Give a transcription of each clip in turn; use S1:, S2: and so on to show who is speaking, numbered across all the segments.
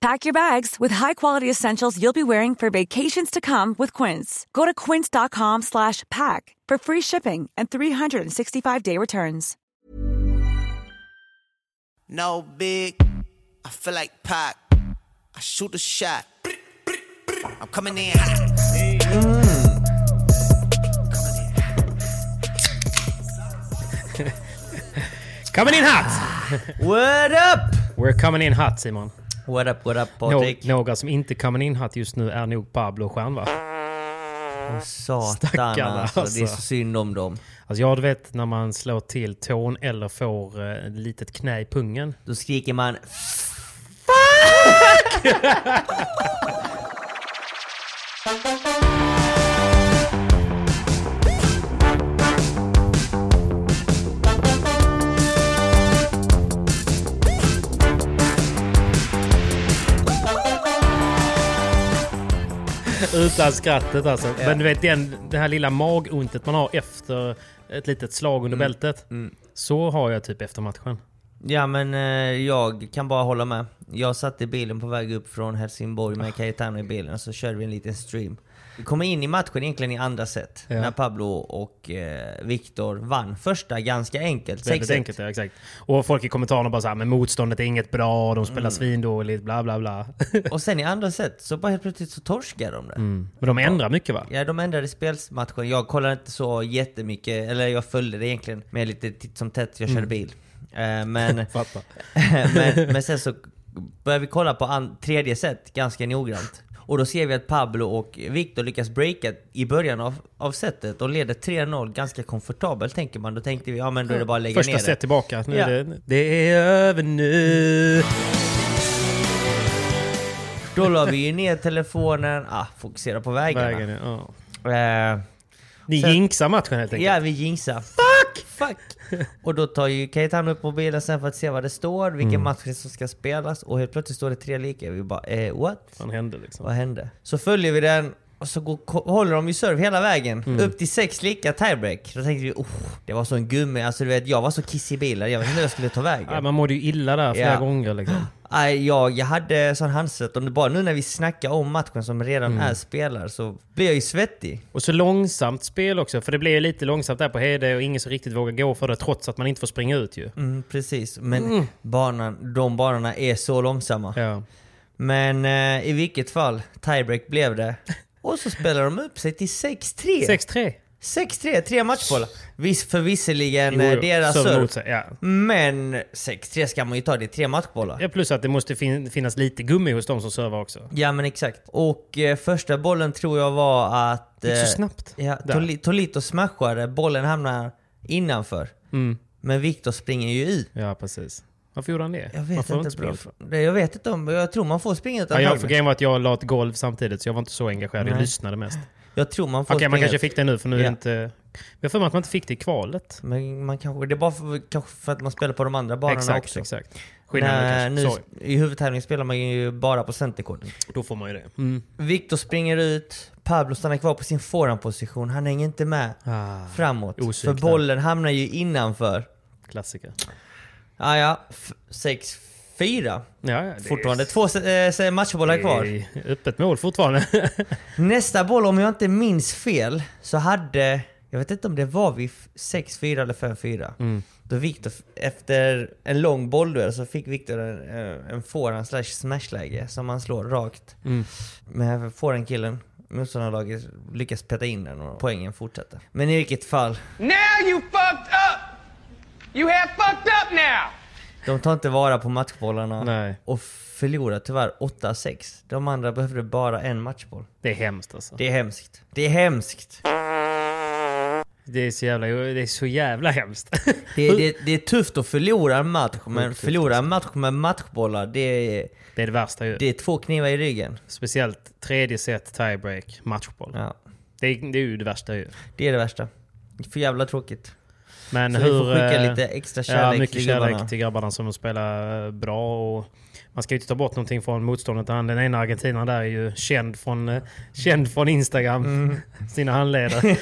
S1: Pack your bags with high-quality essentials you'll be wearing for vacations to come with Quince. Go to quince.com slash pack for free shipping and 365-day returns.
S2: No big, I feel like Pac. I shoot a shot. I'm coming in.
S3: Coming in hot!
S4: What up?
S3: We're coming in hot Simon.
S4: What up, what up
S3: Nå,
S4: Patrik?
S3: några som inte coming in hot just nu är nog Pablo och Jean va?
S4: Satan
S3: Stackarna,
S4: alltså. Det är
S3: alltså.
S4: så synd om dem.
S3: Alltså jag du vet när man slår till tån eller får eh, ett litet knä i pungen.
S4: Då skriker man
S3: Utan skrattet alltså. Men du vet den, det här lilla magontet man har efter ett litet slag under bältet. Så har jag typ efter matchen.
S4: Ja men eh, jag kan bara hålla med. Jag satt i bilen på väg upp från Helsingborg
S3: Ah.
S4: med Cayetano i bilen och så körde vi en liten stream. Vi kom in i matchen egentligen i andra set.
S3: Ja.
S4: När Pablo och eh, Viktor vann första ganska enkelt.
S3: Väldigt
S4: 6-1.
S3: enkelt, ja, exakt. Och folk i kommentarerna bara så här, men motståndet är inget bra, de spelar svindåligt, bla bla bla.
S4: Och sen i andra set så bara helt plötsligt så torskar de det.
S3: men de ändrar mycket va?
S4: Ja, de ändrade spelsmatchen. Jag kollade inte så jättemycket, eller jag följde det egentligen med lite titt som tätt, jag körde bil. Eh, men,
S3: Fattar.
S4: men, men sen så började vi kolla på an- tredje set ganska noggrant. Och då ser vi att Pablo och Victor lyckas breaka i början av, av setet och leder 3-0 ganska komfortabelt tänker man. Då tänkte vi, ja men då är det bara att lägga
S3: Första
S4: ner
S3: set
S4: det.
S3: tillbaka. Nu
S4: Ja.
S3: är det, det är över nu.
S4: Då la vi ju ner telefonen, ah, fokusera på vägarna.
S3: Vägen, är- ja.
S4: Eh,
S3: Ni
S4: Sen-
S3: jinxar matchen helt enkelt.
S4: Ja, vi jinxar. Fuck! Fuck! och då tar ju Cayetano upp mobilen sen för att se vad det står, vilken
S3: Mm.
S4: match som ska spelas och helt plötsligt står det tre lika. Vi bara eh, what?
S3: Vad hände liksom?
S4: Vad hände? Så följer vi den och så går, ko- håller de ju serve hela vägen.
S3: Mm.
S4: Upp till sex lika tiebreak. Då tänkte vi oh, det var så en gummi. Alltså du vet, jag var så kissig i bilen. Jag vet inte hur jag skulle ta vägen.
S3: Ja, man mådde ju illa där flera
S4: Ja.
S3: gånger liksom.
S4: Nej, jag, jag hade sån handset. Och det bara nu när vi snackar om matchen som redan
S3: Mm.
S4: är spelad så blir jag ju svettig.
S3: Och så långsamt spel också, för det blev ju lite långsamt där på Hede och ingen som riktigt vågar gå för det trots att man inte får springa ut ju.
S4: Mm, precis. Men banan, de banorna är så långsamma.
S3: Ja.
S4: Men eh, i vilket fall, tiebreak blev det. Och så spelar de upp sig till 6-3.
S3: 6-3.
S4: 6-3, tre matchbollar. Visst, för visserligen
S3: Jo,
S4: eh,
S3: jo.
S4: deras
S3: Serve
S4: serve.
S3: mot sig, ja.
S4: Men 6-3 ska man ju ta, det är tre matchbollar.
S3: Ja, plus att det måste fin- finnas lite gummi hos de som servar också.
S4: Ja men exakt. Och eh, första bollen tror jag var att...
S3: Det gick så
S4: eh,
S3: snabbt.
S4: Ja,
S3: Där.
S4: Toli- Tolito smashade, bollen hamnar innanför.
S3: Mm.
S4: Men Viktor springer ju ut.
S3: Ja, precis. Varför gjorde han det?
S4: Jag
S3: Man
S4: vet
S3: får
S4: inte.
S3: springa
S4: bra.
S3: ut.
S4: Det- Jag vet inte om... Jag tror man får springa utan
S3: Ja, jag,
S4: högre.
S3: för grejen var att jag la ett golv samtidigt så jag var inte så engagerad. Jag lyssnade mest.
S4: jag tror man får
S3: Okej, man
S4: springa
S3: kanske
S4: ut.
S3: fick det nu för nu är
S4: Ja.
S3: det inte Jag har för mig att man inte fick det i kvalet.
S4: Men man kanske, det är bara för, kanske för att man spelar på de andra banorna
S3: exakt,
S4: också.
S3: exakt.
S4: Nej,
S3: Skillnaden
S4: nu,
S3: nu... Sorry,
S4: I huvudtävlingen spelar man ju bara på centerkort.
S3: då får man ju det.
S4: Victor springer ut, Pablo stannar kvar på sin forehandposition. Han hänger inte med
S3: Ah,
S4: framåt.
S3: osynk
S4: för
S3: där.
S4: bollen hamnar ju innanför.
S3: Klassiker.
S4: Ah, ja, 6-4.
S3: Ja, ja, det är-
S4: Fortfarande två eh, matchbollar kvar.
S3: Det är Öppet mål fortfarande.
S4: Nästa boll, om jag inte minns fel, så hade... Jag vet inte om det var vid f- 6-4 eller 5-4. Då Victor, efter en lång bollduell så fick Victor en, eh, en forehand slash smashläge som han slår rakt. Men forehandkillen, motståndarlaget, lyckas peta in den och poängen fortsätter. Men i vilket fall,
S5: Now you fucked up. You have fucked up now.
S4: de tar inte vara på matchbollarna
S3: Nej.
S4: och förlorar tyvärr 8-6. De andra behövde bara en matchboll.
S3: Det är hemskt alltså.
S4: Det är hemskt. Det är hemskt.
S3: Det är så jävla, det är så jävla hemskt.
S4: Det, det, det är tufft att förlora en match, men förlora en
S3: alltså.
S4: match med matchbollar, det är,
S3: Det är det värsta ju.
S4: det är två knivar i ryggen.
S3: Speciellt tredje set, tiebreak, matchboll.
S4: Ja,
S3: Det, är, det är ju det värsta ju.
S4: det är det värsta. För jävla tråkigt.
S3: Men
S4: Så
S3: hur...
S4: vi får skicka
S3: eh,
S4: lite extra kärlek
S3: Ja, mycket
S4: till
S3: kärlek
S4: gubbarna.
S3: till grabbarna som spelar eh, bra. Och man ska ju inte ta bort någonting från motståndet. Han, den ena argentinaren där är ju känd från, eh, känd från Instagram.
S4: Mm.
S3: Sina handledare.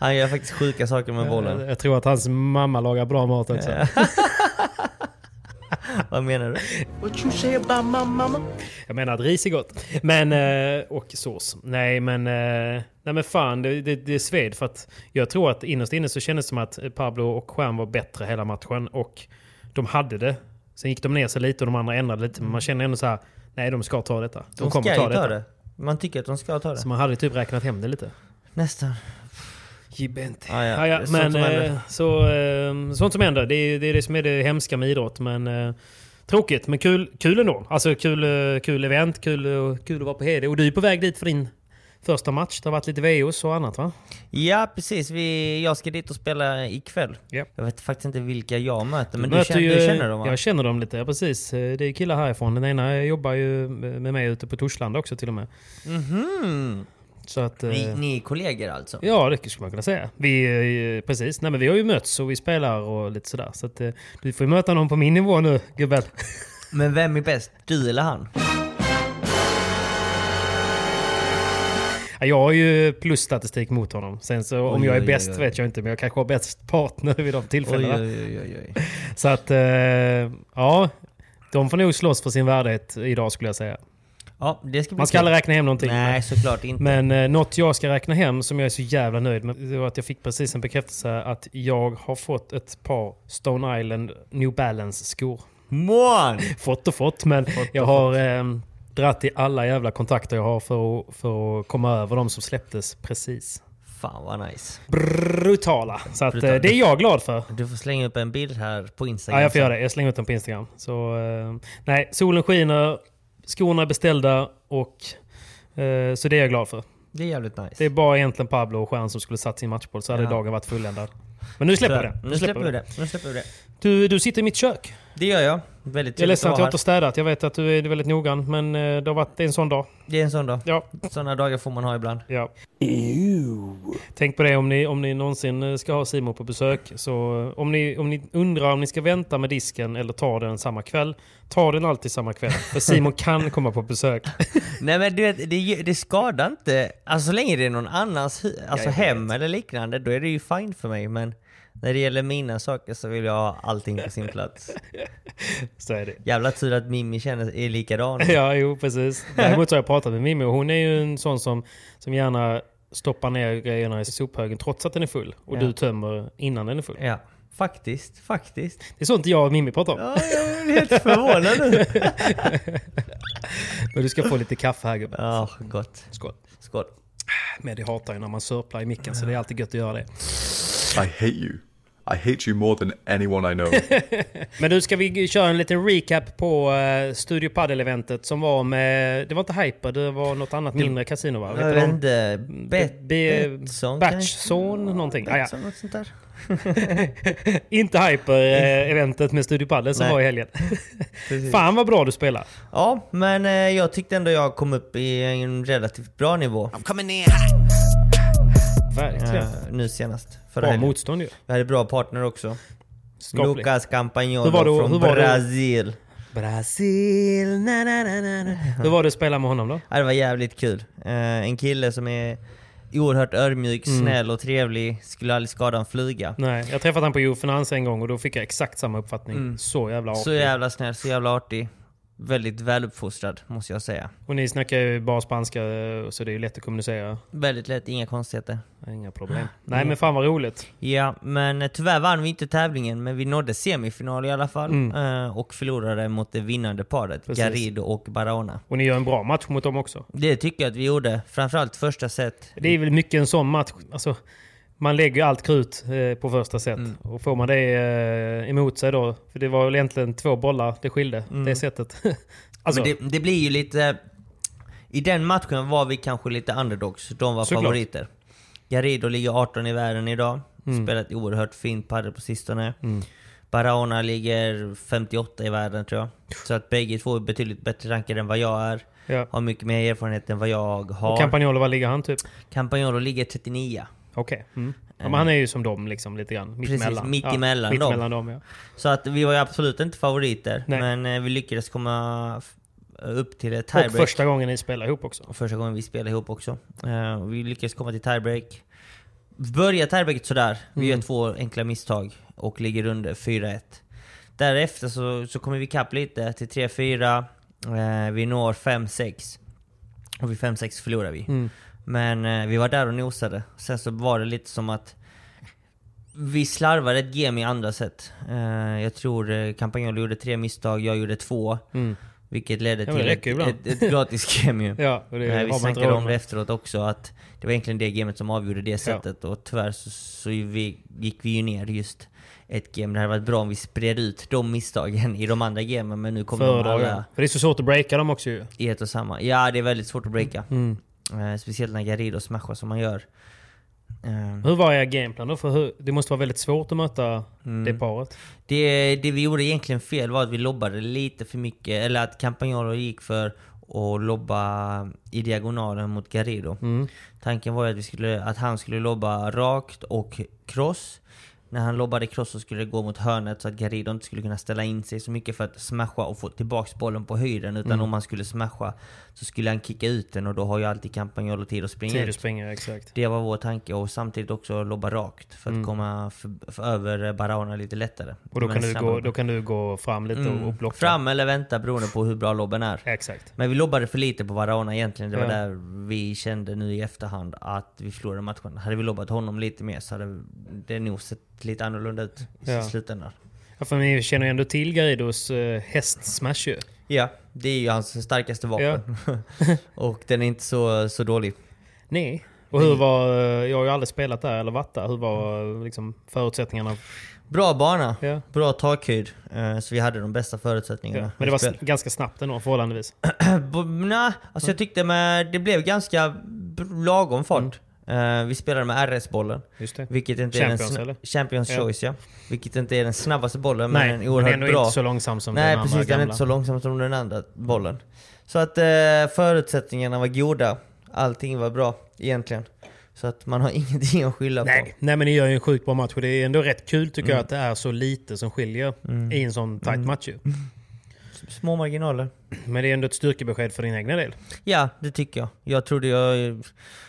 S4: Han gör faktiskt sjuka saker med bollen.
S3: Jag tror att hans mamma lagar bra mat också.
S4: Vad menar du?
S5: What you say about my mama?
S3: Jag menar att ris är gott. Men, eh, och sås. Nej men, eh, nej, men fan det, det, det är sved. För att jag tror att innerst inne så kändes det som att Pablo och Stjärn var bättre hela matchen. Och de hade det. Sen gick de ner sig lite och de andra ändrade lite. Men man känner ändå så här, nej de ska ta detta.
S4: De ska
S3: kommer
S4: ju ta det. Man tycker att de ska ta det.
S3: Så man hade typ räknat hem det lite.
S4: Nästan.
S3: Gibente.
S4: Ah, ja.
S3: ja,
S4: Det
S3: ja.
S4: är
S3: Men
S4: sånt som händer.
S3: eh, så, eh, sånt som händer. Det är det, är det som är det hemska med idrott. Men, eh, tråkigt, men kul, kul ändå. Alltså kul, eh, kul event, kul, eh, kul att vara på Hede. Och du är på väg dit för din första match. Det har varit lite VOS och annat va?
S4: Ja, precis. Vi, jag ska dit och spela ikväll.
S3: Ja.
S4: Jag vet faktiskt inte vilka jag möter, men du,
S3: Möter
S4: känner,
S3: ju-
S4: du känner dem va?
S3: Jag känner dem lite, ja precis. Eh, Det är killar härifrån. Den ena jobbar ju med mig ute på Torslanda också till och med. Så att... eh,
S4: Mhm. Ni, ni är kollegor alltså?
S3: Ja, det skulle man kunna säga. Vi, eh, precis. Nej, men vi har ju mötts och vi spelar och lite sådär. Så att, eh, du får ju möta någon på min nivå nu, gubben.
S4: Men vem är bäst? Du eller han?
S3: Ja, Jag har ju plusstatistik mot honom. Sen så om
S4: Oj,
S3: jag är
S4: oj,
S3: bäst
S4: oj, oj.
S3: vet jag inte, men jag kanske har bäst partner vid de tillfällena.
S4: oj, oj, oj.
S3: Så att, eh, ja. De får nog slåss för sin värdighet idag skulle jag säga.
S4: Ja, det ska bli
S3: Man ska
S4: kul.
S3: aldrig räkna hem någonting.
S4: Nej, såklart inte.
S3: Men eh, något jag ska räkna hem som jag är så jävla nöjd med det var att jag fick precis en bekräftelse att jag har fått ett par Stone Island New Balance-skor.
S4: Mån!
S3: fått och fått, men jag har eh, dratt i alla jävla kontakter jag har för att, för att komma över de som släpptes precis.
S4: Fan vad nice.
S3: Brutala! Så att, eh,
S4: Brutala.
S3: det är jag glad för.
S4: Du får slänga upp en bild här på Instagram.
S3: Ja, jag får göra det. Jag slänger ut dem på Instagram. Så, eh, nej, solen skiner, skorna är beställda och eh, så det är jag glad för.
S4: Det är jävligt nice.
S3: Det är bara egentligen Pablo och Stjärn som skulle satt sin matchboll så hade
S4: Ja.
S3: dagen varit fulländad. Men nu släpper vi
S4: Tyvärr.
S3: det.
S4: Nu släpper vi det. Nu släpper vi det.
S3: Du, du sitter i mitt kök.
S4: Det gör jag. Väldigt
S3: Jag är
S4: trevligt
S3: ledsen att jag
S4: vara
S3: inte har städat. Jag vet att du är väldigt noggrann, men eh, det har varit det är en sån dag.
S4: här. Det är en sån dag.
S3: Ja,
S4: Såna dagar får man ha ibland.
S3: Ja. Tänk på det om ni, om ni någonsin eh, ska ha Simon på besök. Så eh, om ni, om ni undrar om ni ska vänta med disken eller ta den samma kväll. Ta den alltid samma kväll. För Simon kan komma på besök.
S4: Nej men du vet, det, det skadar inte. Alltså så länge det är någon annans hu- alltså, hem eller liknande, då är det ju fine för mig. Men när det gäller mina saker så vill jag ha allting på sin plats.
S3: Så är det.
S4: Jävla tur att Mimmi känner är likadan.
S3: Ja, jo precis. Däremot så har jag pratat med Mimmi och hon är ju en sån som, som gärna stoppar ner grejerna i sophögen trots att den är full. Och
S4: Ja.
S3: du tömmer innan den är full.
S4: Ja, faktiskt. Faktiskt.
S3: Det är sånt jag och Mimmi pratar om.
S4: Ja, jag blir helt förvånad nu.
S3: Men du ska få lite kaffe här gubben.
S4: Ja, gott.
S3: Skål.
S4: Skål.
S3: Men det hatar ju när man sörplar i micken så det är alltid gött att göra det.
S6: I hate you. I hate you more than anyone I know.
S3: Men du, ska vi köra en liten recap på eh, Studio Padel-eventet som var med... Det var inte Hyper, det var något annat mindre kasino va?
S4: Jag
S3: Vet du
S4: vet
S3: om-
S4: inte. Bet-
S3: Be-
S4: Eh, Betsson kanske?
S3: Batchzone någonting. Ah, ja.
S4: Betsson, något sånt där.
S3: Inte Hyper-eventet med Studio Padel som
S4: Nej.
S3: var i helgen. Fan vad bra du spelar.
S4: Ja, men eh, jag tyckte ändå jag kom upp i en relativt bra nivå.
S2: I'm coming in hot.
S3: Verkligen.
S4: eh, nu senast. Förra
S3: Bra
S4: helgen.
S3: motstånd ju.
S4: Vi hade bra partner också.
S3: Skaplig.
S4: Lucas Campagnolo
S3: Hur var det-
S4: från
S3: hur var det-
S4: Brasil. Brasil, na na na na na.
S3: Hur var det att spela med honom då?
S4: Ja, det var jävligt kul. Eh, en kille som är oerhört ödmjuk,
S3: Mm.
S4: snäll och trevlig. Skulle aldrig skada en flyga.
S3: Nej, jag träffade han på Jo Finans en gång och då fick jag exakt samma uppfattning. Så jävla
S4: Mm. Så
S3: artig.
S4: jävla snäll, så jävla artig. Väldigt väluppfostrad måste jag säga.
S3: Och ni snackar ju bara spanska eh, så det är ju lätt att kommunicera.
S4: Väldigt lätt, inga konstigheter.
S3: Inga problem. Nej men fan vad roligt.
S4: Ja, men eh, tyvärr vann vi inte tävlingen, men vi nådde semifinal i alla fall. eh, Och förlorade mot det vinnande paret,
S3: Mm. Precis.
S4: Garrido och Barahona.
S3: Och ni gör en bra match mot dem också.
S4: Det tycker jag att vi gjorde, framförallt första set.
S3: Det är väl mycket en sån match. Alltså, man lägger ju allt krut eh, på första set.
S4: Mm.
S3: Och får man det eh, emot sig då, för det var väl egentligen två bollar det skilde, det sättet. alltså,
S4: Mm. Men det, det blir ju lite... I den matchen var vi kanske lite underdogs, de var
S3: Såklart.
S4: favoriter. Garrido ligger 18 i världen idag,
S3: Mm.
S4: spelat oerhört fint padel på sistone. Barahona ligger 58 i världen tror jag. Så att bägge två är betydligt bättre rankade än vad jag är.
S3: Ja.
S4: Har mycket mer erfarenhet än vad jag har.
S3: och Campagnolo, var ligger han typ?
S4: Campagnolo ligger 39.
S3: Okej. Mm. Ja, men han är ju som dem liksom, lite grann. Mitt
S4: Eh. Precis,
S3: emellan.
S4: mitt
S3: ja,
S4: emellan
S3: mitt
S4: dem.
S3: emellan dem. Ja.
S4: Så att vi var ju absolut inte favoriter,
S3: Nej.
S4: men eh, vi lyckades komma f- upp till ett
S3: Och
S4: tiebreak.
S3: första gången ni spelar ihop också.
S4: Och första gången vi spelade ihop också. Eh, vi lyckades komma till tiebreak. Börjar tiebreaket sådär. Vi
S3: Mm.
S4: gör två enkla misstag och ligger under 4-1. Därefter så, så kommer vi ikapp lite till 3-4. Eh, vi når 5-6. Och vid 5-6 förlorar vi.
S3: Mm.
S4: Men eh, vi var där och nosade. Sen så var det lite som att vi slarvade ett game i andra set. Eh, jag tror eh, Campagnolo gjorde tre misstag, jag gjorde två. Vilket ledde
S3: Mm. men det
S4: till ett,
S3: räcker ibland.
S4: ett, ett gratis game ju.
S3: Ja, och det har
S4: Eh,
S3: man
S4: vi
S3: inte
S4: snackade
S3: råd
S4: om
S3: med.
S4: det efteråt också, att det var egentligen det gamet som avgjorde det sättet. Och tyvärr så, så vi, gick vi ju ner just ett game. Det hade varit bra om vi spred ut de misstagen i de andra gamen, men nu kommer de alla Mm.
S3: Föredragen. För det är så svårt att breaka dem också ju.
S4: i ett och samma. Ja, det är väldigt svårt att breaka.
S3: Mm.
S4: Eh, speciellt när Garrido smashar som han gör. Eh,
S3: Hur var er gameplan då? För hur, det måste vara väldigt svårt att möta
S4: Mm.
S3: det paret.
S4: Det, det vi gjorde egentligen fel var att vi lobbade lite för mycket, eller att Campagnolo gick för att lobba i diagonalen mot Garrido.
S3: Mm.
S4: Tanken var ju att, vi skulle, att han skulle lobba rakt och cross. När han lobbade cross så skulle det gå mot hörnet så att Garrido inte skulle kunna ställa in sig så mycket för att smasha och få tillbaks bollen på höjden. Utan
S3: Mm.
S4: om han skulle smasha så skulle han kicka ut den och då har ju alltid Campagnolo tid att springa
S3: Tid
S4: ut.
S3: att springa, exakt.
S4: Det var vår tanke och samtidigt också lobba rakt för att komma för, för över Barahona lite lättare.
S3: Mm. Och då
S4: Men
S3: kan, du
S4: snabba-
S3: gå, då kan du gå fram lite och- och blocka.
S4: Mm. Fram eller vänta beroende på hur bra lobben är.
S3: Exakt.
S4: Men vi lobbade för lite på Barahona egentligen. Det var
S3: Ja.
S4: där vi kände nu i efterhand att vi förlorade matchen. Hade vi lobbat honom lite mer så hade det nog sett lite annorlunda ut i
S3: Ja.
S4: slutändan.
S3: Ja, för ni känner ju ändå till Garridos eh, hästsmash ju.
S4: Ja, det är ju hans starkaste vapen. och den är inte så, så dålig.
S3: Nej. Och hur var, eh, jag har ju aldrig spelat där eller varit där, hur var eh, liksom, förutsättningarna?
S4: Bra bana,
S3: Ja.
S4: bra takhöjd. Eh, Så vi hade de bästa förutsättningarna.
S3: Ja. Men det var
S4: Spel-
S3: sn- ganska snabbt ändå förhållandevis.
S4: B- Nja,
S3: Mm.
S4: alltså jag tyckte med, det blev ganska b- lagom fart. Eh, vi spelade med RS-bollen.
S3: Mm. Just det.
S4: Vilket inte är
S3: Champions,
S4: den sna-
S3: eller?
S4: Champions
S3: Ja.
S4: Choice ja. Vilket inte är den snabbaste bollen
S3: Nej,
S4: men
S3: men
S4: en oerhört
S3: ändå
S4: bra.
S3: inte så långsam som
S4: Nej
S3: den
S4: precis,
S3: andra
S4: den är
S3: gamla.
S4: inte så långsam som den andra bollen. Så att eh, förutsättningarna var goda. Allting var bra egentligen. Så att man har ingenting att skylla på.
S3: Nej. Nej, men ni gör ju en sjukt bra match och det är ändå rätt kul tycker
S4: Mm.
S3: jag att det är så lite som skiljer i en sån tight match ju.
S4: Små marginaler.
S3: Men det är ändå ett styrkebesked för din egna del.
S4: Ja, det tycker jag. Jag trodde jag...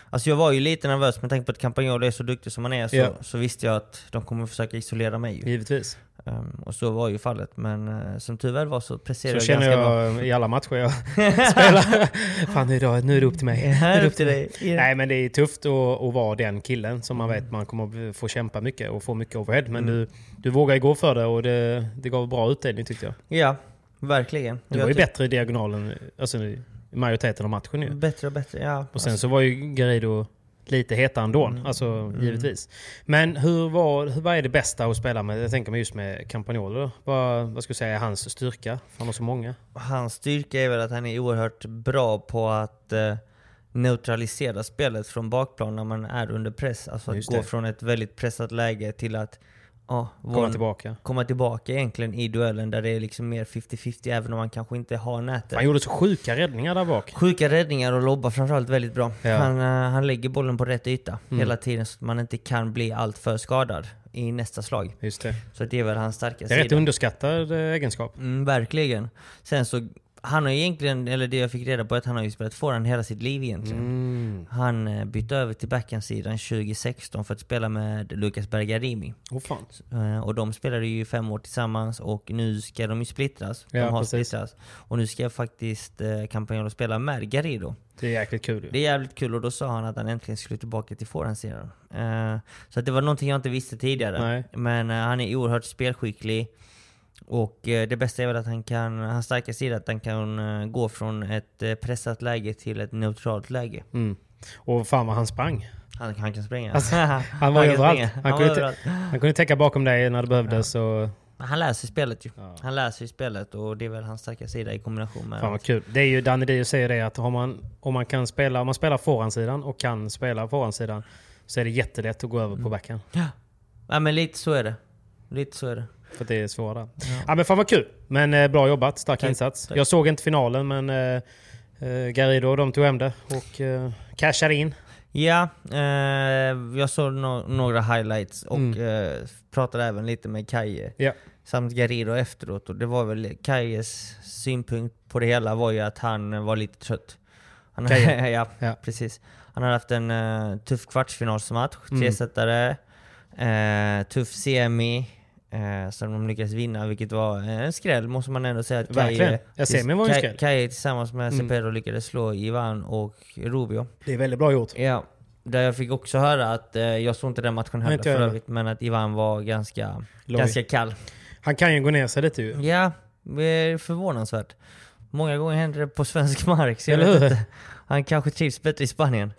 S4: Alltså jag var ju lite nervös med tanke på att Campagnolo är så duktig som han är så,
S3: Ja.
S4: så visste jag att de kommer försöka isolera mig. ju.
S3: Givetvis.
S4: Ehm, och så var ju fallet. Men eh, som tur väl var så
S3: Så
S4: presterade jag
S3: känner
S4: ganska bra.
S3: jag i alla matcher jag spelar. Fan, nu är det, nu är det upp till mig.
S4: Det här
S3: Nu är det
S4: upp till dig. Mm. Ja.
S3: Nej, men det är tufft att, att vara den killen som man vet man kommer att få kämpa mycket och få mycket overhead.
S4: Mm.
S3: Men du, du vågar ju gå för det och det, det gav bra utdelning tyckte jag.
S4: Ja, verkligen.
S3: Du
S4: Jag
S3: var ju
S4: tycker-
S3: bättre i diagonalen, alltså i majoriteten av matchen ju.
S4: Bättre och bättre, ja.
S3: Och sen så var ju Garrido lite hetare ändå,
S4: Mm.
S3: alltså givetvis. Men hur var, hur- vad är det bästa att spela med? Jag tänker mig just med Campagnolo då. Vad, vad skulle du säga är hans styrka? Han har så många.
S4: Hans styrka är väl att han är oerhört bra på att eh, neutralisera spelet från bakplan när man är under press. Alltså att
S3: Just
S4: gå
S3: det.
S4: från ett väldigt pressat läge till att ja, vår-
S3: Komma tillbaka.
S4: komma tillbaka egentligen i duellen där det är liksom mer 50-50 även om man kanske inte har nätet.
S3: Han gjorde så sjuka räddningar där bak.
S4: Sjuka räddningar och lobbar framförallt väldigt bra.
S3: Ja. Mm.
S4: Han, eh, han lägger bollen på rätt yta hela tiden så att man inte kan bli alltför skadad i nästa slag.
S3: Just det.
S4: Så det är väl hans starka
S3: Det är rätt
S4: sida.
S3: underskattad eh, egenskap.
S4: Mm, verkligen. Sen så, han har ju egentligen, eller det jag fick reda på är att han har ju spelat forehand hela sitt liv egentligen.
S3: Mm.
S4: Han eh, bytte över till backhandsidan 2016 för att spela med Lucas Bergarimi.
S3: Åh fan.
S4: Eh, Och de spelade ju fem år tillsammans och nu ska de ju splittras. De
S3: Ja,
S4: har
S3: precis.
S4: splittrats. Och nu ska faktiskt eh, Campagnolo spela med Garrido.
S3: Det är jäkligt kul ju.
S4: Det är jävligt kul och då sa han att han äntligen skulle tillbaka till forehandsidan. Eh, så att det var någonting jag inte visste tidigare.
S3: Nej.
S4: Men eh, han är oerhört spelskicklig. Och eh, det bästa är väl att han kan, hans starka sida är att han kan eh, gå från ett eh, pressat läge till ett neutralt läge.
S3: Mm. Och fan vad han sprang.
S4: Han, han kan spränga.
S3: Alltså, han var
S4: kan
S3: överallt.
S4: springa.
S3: Han,
S4: Han var
S3: kunde,
S4: överallt.
S3: överallt. han kunde täcka bakom dig när det behövdes. Och,
S4: Men Han läser spelet ju.
S3: Ja.
S4: Han läser ju spelet och det är väl hans starka sida i kombination med...
S3: fan vad kul. Det är ju, Danny Dio säger det att har man, om, man kan spela, om man spelar forehandsidan och kan spela forehandsidan så är det jättelätt att gå över på backhand.
S4: Ja men lite så är det. Lite så är det.
S3: För att det är svårare. Ja. men fan vad kul. Men eh, bra jobbat. Stark
S4: Tack,
S3: insats.
S4: tack.
S3: Jag såg inte finalen men eh, eh, Garrido de tog hem det och eh, cashade in.
S4: Ja, eh, jag såg no- några highlights och eh, pratade även lite med Kaje
S3: Mm. Ja.
S4: samt Garrido efteråt. Och det var väl Kajes synpunkt på det hela var ju att han var lite trött. Han,
S3: Kaje?
S4: ja,
S3: Ja.
S4: precis. Han hade haft en eh, tuff kvartsfinalsmatch,
S3: Mm.
S4: tresetare, eh, tuff semi. Eh, som de lyckades vinna, vilket var en skräll måste man ändå säga. Att
S3: Verkligen. Ja, semin var ju en
S4: Kaj-
S3: skräll. Mm.
S4: Kaje tillsammans med Cepero lyckades slå Ivan och Rubio.
S3: Det är väldigt bra gjort.
S4: Ja, där jag fick också höra att, eh, jag såg inte den matchen heller
S3: inte
S4: för
S3: jag heller.
S4: övrigt, men att Ivan var ganska,
S3: Loj.
S4: ganska kall.
S3: Han kan ju gå ner sig lite ju.
S4: Ja, det är förvånansvärt. Många gånger händer det på svensk mark, så jag
S3: Eller
S4: vet
S3: hur?
S4: inte. Han kanske trivs bättre i Spanien.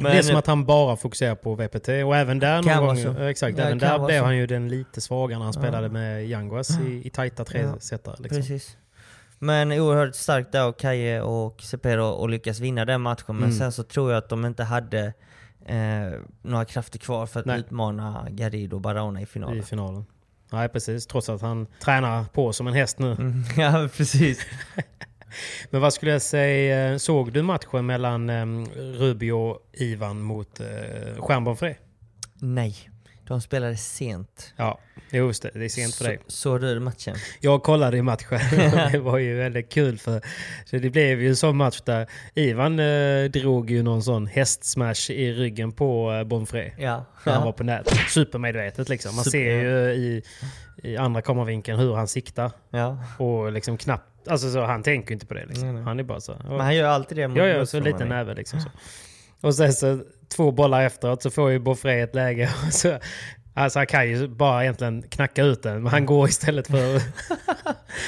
S3: det är som att han bara fokuserar på VPT och även där
S4: Kan
S3: någon
S4: vara
S3: gång,
S4: så.
S3: ja, exakt,
S4: Ja,
S3: även
S4: kan
S3: där
S4: vara
S3: blev
S4: så.
S3: han ju den lite svagare när han spelade med Yanguas i, i tajta tresetare. liksom.
S4: Precis. Men oerhört starkt där av Kaje och Cepero och lyckas vinna den matchen.
S3: Mm.
S4: Men sen så tror jag att de inte hade eh, några krafter kvar för att
S3: Nej.
S4: utmana Garrido och Barona i finalen.
S3: I finalen. Nej, precis. Trots att han tränar på som en häst nu.
S4: Mm. ja, precis.
S3: Men vad skulle jag säga, eh, såg du matchen mellan um, Rubio och Ivan mot uh, Stjernborn
S4: Nej, de spelade sent.
S3: Ja, jo, just det. Det är sent för dig.
S4: Så, såg du matchen?
S3: Jag kollade i matchen. det var ju väldigt kul för så det blev ju en sån match där Ivan eh, drog ju någon sån hästsmash i ryggen på eh, Bonfré.
S4: Ja.
S3: När han var på nät. Supermedvetet liksom. Man
S4: Super-
S3: ser ju i, i andra kameravinkeln hur han siktar.
S4: ja.
S3: Och liksom knappt... Alltså så, han tänker ju inte på det liksom.
S4: Nej, nej.
S3: Han är bara så. här,
S4: Men han gör alltid det mot
S3: Ja, ja, så
S4: motståndarna.
S3: liten näve liksom. Så. Och sen så två bollar efteråt så får ju Boffré ett läge. Och så, alltså han kan ju bara egentligen knacka ut den, men han går istället för... Fast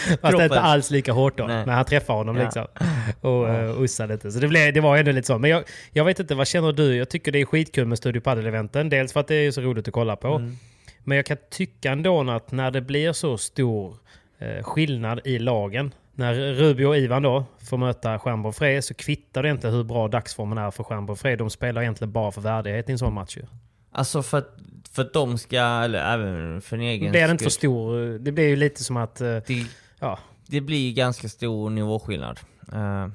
S3: det är
S4: Kroppen.
S3: inte alls lika hårt då,
S4: Nej.
S3: men han träffar honom
S4: Ja.
S3: liksom. Och uh, ussar lite. Så det, blev, det var ändå lite så. Men jag, jag vet inte, vad känner du? Jag tycker det är skitkul med Studio Padel-eventen. Dels för att det är så roligt att kolla på.
S4: Mm.
S3: Men jag kan tycka ändå att när det blir så stor eh, skillnad i lagen. När Rubio och Ivan då får möta Stjernborg Frej så kvittar det inte hur bra dagsformen är för Stjernborg Frej. De spelar egentligen bara för värdighet i en sån match ju.
S4: Alltså för att, för att de ska, eller även för en egen
S3: Blir det inte
S4: skull.
S3: för stor... eh, Det blir ju lite som att... eh,
S4: Det,
S3: Ja,
S4: det blir ju ganska stor nivåskillnad. Eh,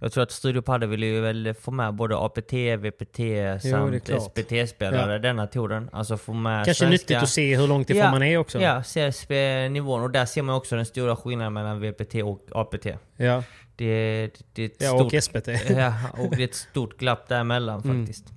S4: jag tror att Studio Padel vill ju väl få med både APT, VPT
S3: det är
S4: samt
S3: klart.
S4: SPT-spelare denna touren. Alltså få med
S3: kanske
S4: svenska...
S3: nyttigt att se hur långt ifrån man är också.
S4: Ja, CSP-nivån. Och där ser man också den stora skillnaden mellan VPT och APT.
S3: ja.
S4: Det, det är ett
S3: ja
S4: stort...
S3: och SPT.
S4: ja, och det är ett stort glapp däremellan
S3: Mm.
S4: faktiskt.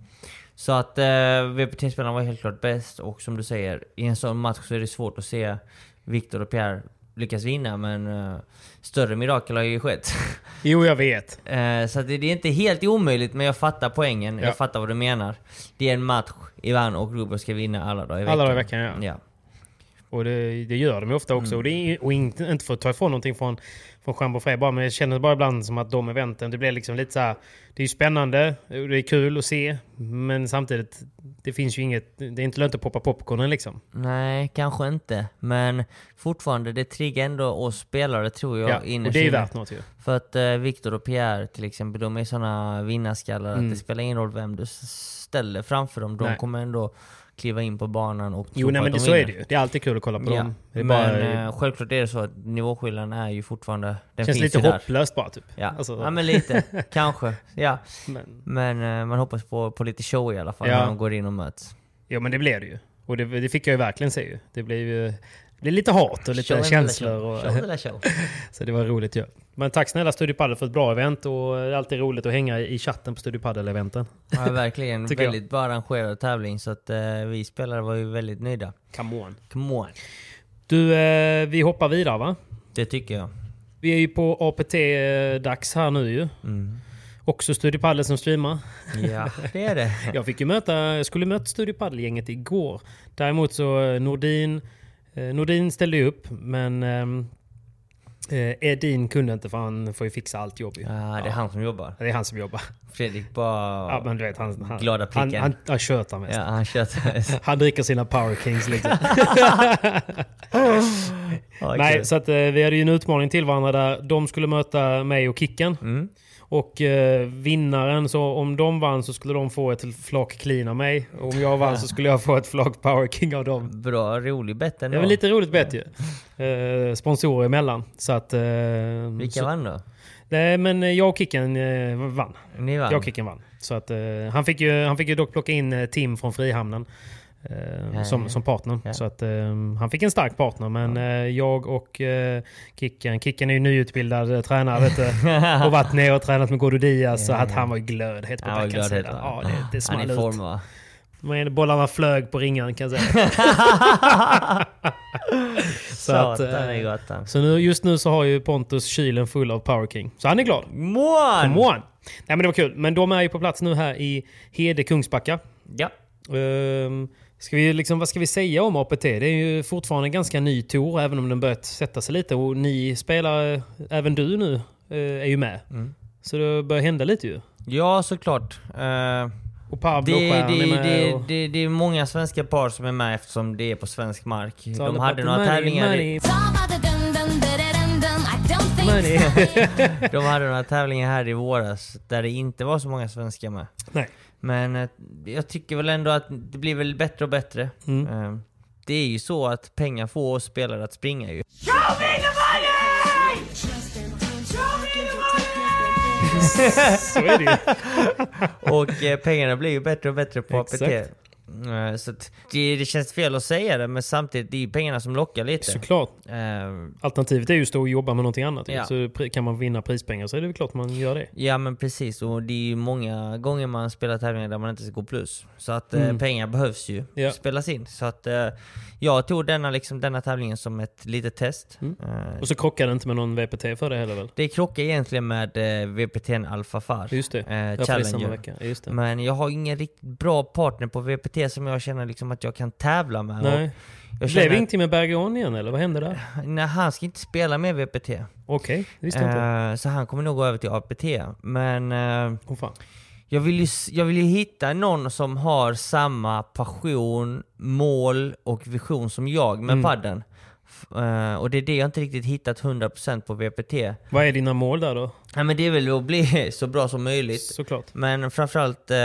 S4: Så att eh, VPT-spelarna var helt klart bäst och som du säger, i en sån match så är det svårt att se Viktor och Pierre lyckas vinna men eh, större mirakel har ju skett.
S3: Jo, jag vet.
S4: eh, så att det, det är inte helt omöjligt men jag fattar poängen,
S3: Ja.
S4: jag fattar vad du menar. Det är en match Ivan och Rubio ska vinna alla dagar i veckan.
S3: Alla dagar i veckan, ja.
S4: ja.
S3: Och det, det gör de ju ofta också. Och, det är, och inte, inte för att ta ifrån någonting från, från Jean Boffré bara, men jag känner bara ibland som att de eventen, det blir liksom lite så här, Det är ju spännande, och det är kul att se, men samtidigt, det finns ju inget, det är inte lönt att poppa popcornen liksom.
S4: Nej, kanske inte. Men fortfarande, det triggar ändå oss spelare tror jag.
S3: Ja, och
S4: innerst
S3: det är ju
S4: inne.
S3: värt något ju.
S4: För att eh, Viktor och Pierre till exempel, de är sådana vinnarskallar att det spelar ingen roll vem du s- ställer framför dem. De
S3: Mm. Nej.
S4: kommer ändå kliva in på banan och
S3: Jo,
S4: tro
S3: nej
S4: på
S3: men
S4: att
S3: det,
S4: de
S3: så är
S4: vinner.
S3: det ju. Det är alltid kul att kolla på
S4: Ja.
S3: dem. Det är
S4: men
S3: bara,
S4: eh, självklart är det så att nivåskillnaden är ju fortfarande... Den
S3: känns
S4: finns
S3: lite
S4: ju där.
S3: hopplöst bara typ.
S4: Ja.
S3: Alltså,
S4: ja, men lite. Kanske. Ja.
S3: men,
S4: Men eh, man hoppas på, på lite show i alla fall
S3: Ja.
S4: när de går in och möts.
S3: jo, men det blev det ju. Och det, det fick jag ju verkligen se ju. Det blev ju det blev lite hat och lite
S4: Show and
S3: känslor.
S4: show.
S3: Och,
S4: Show eller show.
S3: så det var roligt ju. Men tack snälla Studio Padel för ett bra event och det är alltid roligt att hänga i chatten på Studio Padel-eventen.
S4: Ja, verkligen.
S3: Tycker jag.
S4: väldigt bra arrangerad tävling så att eh, vi spelare var ju väldigt nöjda.
S3: Come on.
S4: Come on.
S3: Du, eh, vi hoppar vidare va?
S4: Det tycker jag.
S3: Vi är ju på APT-dags här nu ju. Också Studio Padel som streamar.
S4: Ja, det är det.
S3: Jag fick ju möta, jag skulle möta Studio Padel-gänget igår. Däremot så eh, Nordin, eh, Nordin ställde ju upp men ehm, eh, Edin kunde inte för han får ju fixa allt jobb ju.
S4: Ah, det är han som jobbar.
S3: Det är han som jobbar.
S4: Fredrik bara...
S3: Ja, men du vet han... han
S4: Glada
S3: Han,
S4: pricken.
S3: han, han tjötar mest.
S4: Ja, han tjötar.
S3: Han dricker sina Power Kings liksom.
S4: Ja,
S3: Nej,
S4: kul.
S3: så att, eh, vi hade ju en utmaning till varandra där de skulle möta mig och Kicken.
S4: Mm.
S3: Och eh, vinnaren, så om de vann så skulle de få ett flak clean av mig. Och om jag vann så skulle jag få ett flak power king av dem.
S4: Bra, rolig bett
S3: Det
S4: ändå.
S3: var lite roligt bett ju. Eh, sponsorer emellan. Så att... Eh,
S4: Vilka
S3: så,
S4: vann då?
S3: Nej, men eh, jag och Kicken eh, vann.
S4: Ni vann?
S3: Jag och Kicken vann. Så att, eh, han, fick ju, han fick ju dock plocka in eh, Tim från Frihamnen. eh, som, som partner.
S4: Ja.
S3: Så att, eh, han fick en stark partner. Men eh, jag och eh, Kicken, Kicken är ju nyutbildad eh, tränare vet du, och varit nere och tränat med Godo Diaz. Så att han var ju glödhet på
S4: Ja, vad glad
S3: backens
S4: heter
S3: sida. Ja, det, det
S4: Han
S3: small
S4: är i form
S3: ut.
S4: va?
S3: Men Bollarna flög på ringaren kan jag säga.
S4: Så
S3: att,
S4: Satan
S3: eh,
S4: i gatan.
S3: så nu, just nu så har ju Pontus kylen full av Power King. Så han är glad.
S4: Mån!
S3: Come on! Nej men det var kul. Men de är ju på plats nu här i Hede, Kungsbacka.
S4: Ja.
S3: Ehm, ska vi liksom, vad ska vi säga om APT? Det är ju fortfarande en ganska ny tour, även om den börjat sätta sig lite. Och ni spelare, även du nu, eh, är ju med. Så det börjar hända lite ju.
S4: ja, såklart. Eh,
S3: Och Pablo
S4: det,
S3: Stjärn
S4: det,
S3: är med.
S4: det,
S3: och...
S4: det, det är många svenska par som är med eftersom det är på svensk mark. De
S3: Salo
S4: hade
S3: Papu,
S4: några
S3: money,
S4: tävlingar i,
S3: money,
S7: Money.
S3: money.
S4: de hade några tävlingar här i våras där det inte var så många svenskar med.
S3: Nej.
S4: Men eh, jag tycker väl ändå att det blir väl bättre och bättre.
S3: Mm.
S4: Eh, det är ju så att pengar får oss spelare att springa ju.
S3: Så är det ju.
S4: Och eh, pengarna blir ju bättre och bättre på APT.
S3: Exakt.
S4: Eh, Så att det, det känns fel att säga det, men samtidigt, det är ju pengarna som lockar lite.
S3: Såklart.
S4: Eh,
S3: Alternativet är ju att stå och jobba med någonting annat. ju.
S4: Ja.
S3: Så pri- kan man vinna prispengar så är det väl klart man gör det.
S4: Ja men precis, och det är ju många gånger man spelar tävlingar där man inte ska gå plus. Så att eh, pengar behövs ju
S3: Mm. Ja.
S4: spelas in. Så att eh, jag tog denna, liksom, denna tävlingen som ett litet test.
S3: Mm.
S4: Eh,
S3: Och så krockar det inte med någon VPT för det heller väl?
S4: det krockar egentligen med eh, VPT'n Alfa Far.
S3: Just det.
S4: Eh,
S3: Därför det är samma
S4: Challenger.
S3: vecka. Just det.
S4: Men jag har ingen riktigt bra partner på VPT som jag känner liksom att jag kan tävla med.
S3: Nej.
S4: Och Jag
S3: Blev det
S4: känner
S3: ingenting med Bergeron igen eller? Vad hände där?
S4: att, nej, han ska inte spela med VPT.
S3: Okej, det visste jag inte.
S4: Eh, så han kommer nog gå över till APT. Men eh,
S3: Åh fan.
S4: Jag vill, ju, jag vill ju hitta någon som har samma passion, mål och vision som jag med
S3: Mm.
S4: padden. F- eh, och det är det jag inte riktigt hittat 100% på VPT.
S3: Vad är dina mål där då?
S4: Nej, men det är väl att bli så bra som möjligt.
S3: Såklart.
S4: Men framförallt eh,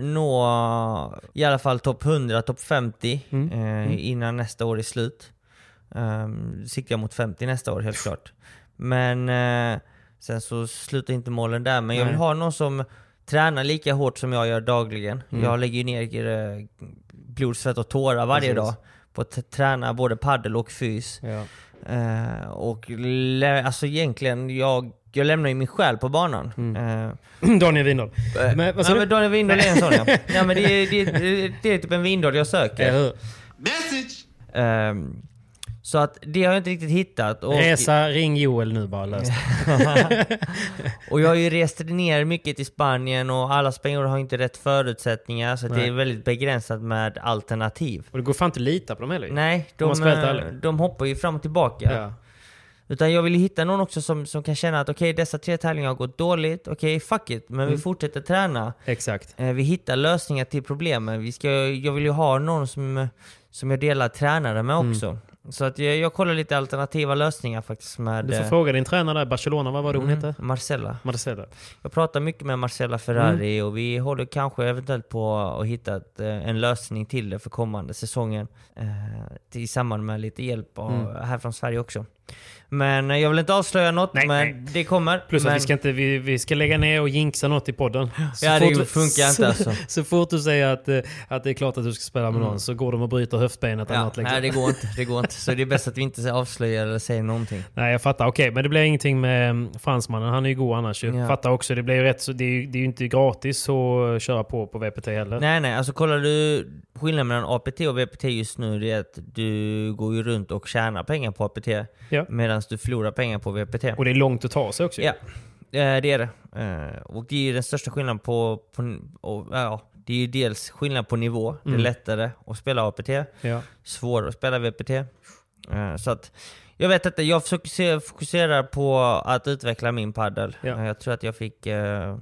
S4: nå i alla fall topp 100, topp 50
S3: Mm.
S4: eh, innan nästa år är slut. Um, siktar jag mot 50 nästa år helt klart. Men eh, sen så slutar inte målen där. Men jag vill
S3: Nej.
S4: ha någon som tränar lika hårt som jag gör dagligen.
S3: Mm.
S4: Jag lägger ju ner eh, blod, svett och tårar varje
S3: Precis.
S4: dag på att t- träna både paddel och fys.
S3: Ja.
S4: Eh, och lä- alltså egentligen, jag, jag lämnar ju min själ på banan.
S3: Mm.
S4: Eh,
S3: Daniel Windahl. Äh, Men vad sa
S4: ja,
S3: du?
S4: Eh, men Daniel Windahl är en sån ja. ja men det, är- det, det, det är typ en Windahl jag söker.
S3: Eller hur?
S4: Ehm, så att det har jag inte riktigt hittat. Och,
S3: Resa, ring Joel nu bara löst.
S4: och jag har ju rest ner mycket till Spanien och alla spanjorer har inte rätt förutsättningar så att det
S3: Nej.
S4: är väldigt begränsat med alternativ.
S3: Och det går fan inte att lita på dem heller ju.
S4: Nej,
S3: Om man
S4: de,
S3: ska vara helt
S4: eh,
S3: ärlig.
S4: de hoppar ju fram och tillbaka.
S3: Ja.
S4: Utan jag vill ju hitta någon också som, som kan känna att okej, dessa tre tävlingar har gått dåligt, okej, fuck it, men
S3: Mm.
S4: vi fortsätter träna.
S3: Exakt.
S4: Eh, Vi hittar
S3: Mm.
S4: lösningar till problemen. Vi ska, jag vill ju ha någon som, som jag delar tränare med också. Så att jag, jag kollar lite alternativa lösningar faktiskt med
S3: Du får
S4: eh,
S3: fråga din tränare där, Barcelona, vad var det hon
S4: mm,
S3: hette?
S4: Marcella.
S3: Marcella.
S4: Jag pratar mycket med Marcella Ferrari
S3: Mm.
S4: och vi håller kanske eventuellt på att hitta ett, eh, en lösning till det för kommande säsongen. Eh, I samband med lite hjälp av,
S3: Mm.
S4: här från Sverige också. Men eh, jag vill inte avslöja något,
S3: Nej,
S4: men
S3: nej.
S4: det kommer.
S3: Plus
S4: men,
S3: att vi ska, inte, vi, vi ska lägga ner och jinxa något i podden. Så
S4: Ja, det
S3: fort-
S4: funkar inte alltså.
S3: Så fort du säger att, eh, att det är klart att du ska spela med någon så går de och bryter höftbenet eller
S4: Ja,
S3: något. liksom.
S4: nej, det går inte. Det går inte. Så det är bäst att vi inte avslöjar eller säger någonting.
S3: Nej, jag fattar. Okej, men det blir ingenting med mm, fransmannen. Han är ju god annars. Jag
S4: Ja.
S3: fattar också. Det blir ju rätt så... Det är ju, det är ju inte gratis att köra på på VPT heller.
S4: Nej nej, alltså kollar du skillnaden mellan APT och VPT just nu det är att du går ju runt och tjänar pengar på APT
S3: Ja.
S4: medan du förlorar pengar på VPT.
S3: Och det är långt att ta sig också. ju.
S4: Ja, eh, det är det. Eh, Och det är ju den största skillnaden på... på och, ja, det är ju dels skillnad på nivå.
S3: Mm.
S4: Det är lättare att spela APT,
S3: Ja.
S4: svårare att spela VPT. Eh, Så att, jag vet inte, jag fokuserar- fokuserar på att utveckla min paddel.
S3: Ja.
S4: Jag tror att jag fick eh,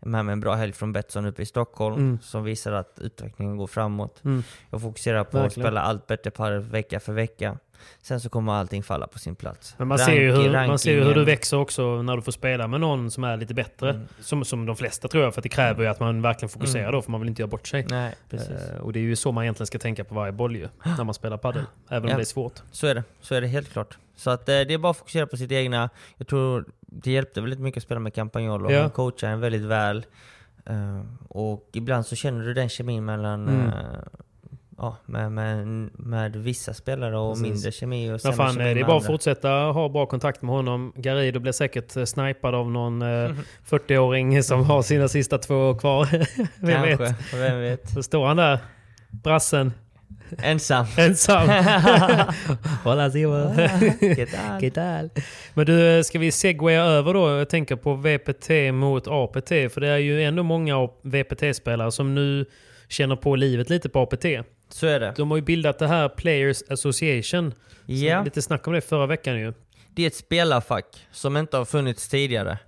S4: med mig en bra helg från Betsson uppe i Stockholm
S3: Mm.
S4: som visar att utvecklingen går framåt.
S3: Mm.
S4: Jag fokuserar på
S3: Verkligen.
S4: att spela allt bättre paddel vecka för vecka. Sen så kommer allting falla på sin plats.
S3: Men man ser, ju
S4: Ranking-
S3: hur, man ser ju hur du
S4: rankingen. Mm.
S3: växer också när du får spela med någon som är lite bättre. Som, som de flesta tror jag, för att det kräver ju att man verkligen fokuserar då, för man vill inte göra bort sig.
S4: Nej, precis.
S3: Eh, och det är ju så man egentligen ska tänka på varje boll ju, när man spelar padel. Även om
S4: Ja.
S3: det är svårt.
S4: Så är det, så är det helt klart. Så att eh, det är bara att fokusera på sitt egna. Jag tror det hjälpte väldigt mycket att spela med Campagnolo.
S3: Ja.
S4: Han coachar en väldigt väl. Eh, och ibland så känner du den kemin mellan
S3: Mm.
S4: eh, ja, med, med, med vissa spelare och
S3: Precis.
S4: mindre kemi och
S3: Men
S4: sämre
S3: fan,
S4: kemi
S3: eh, det är
S4: med
S3: bara att
S4: andra.
S3: fortsätta ha bra kontakt med honom. Garrido blir säkert eh, snipad av någon eh,
S4: Mm.
S3: 40-åring som har sina sista två år kvar. Vem
S4: Kanske,
S3: vet?
S4: vem vet.
S3: Så står han där, brassen,
S4: Ensam.
S3: ensam. Hola Simon.
S4: Get
S3: Men du, eh, ska vi segwaya över då? Jag tänker på VPT mot APT. För det är ju ändå många VPT-spelare som nu känner på livet lite på APT.
S4: så är det.
S3: De har ju bildat det här Players Association. Så
S4: Ja.
S3: Lite snack om det förra veckan ju.
S4: Det är ett spelarfack som inte har funnits tidigare.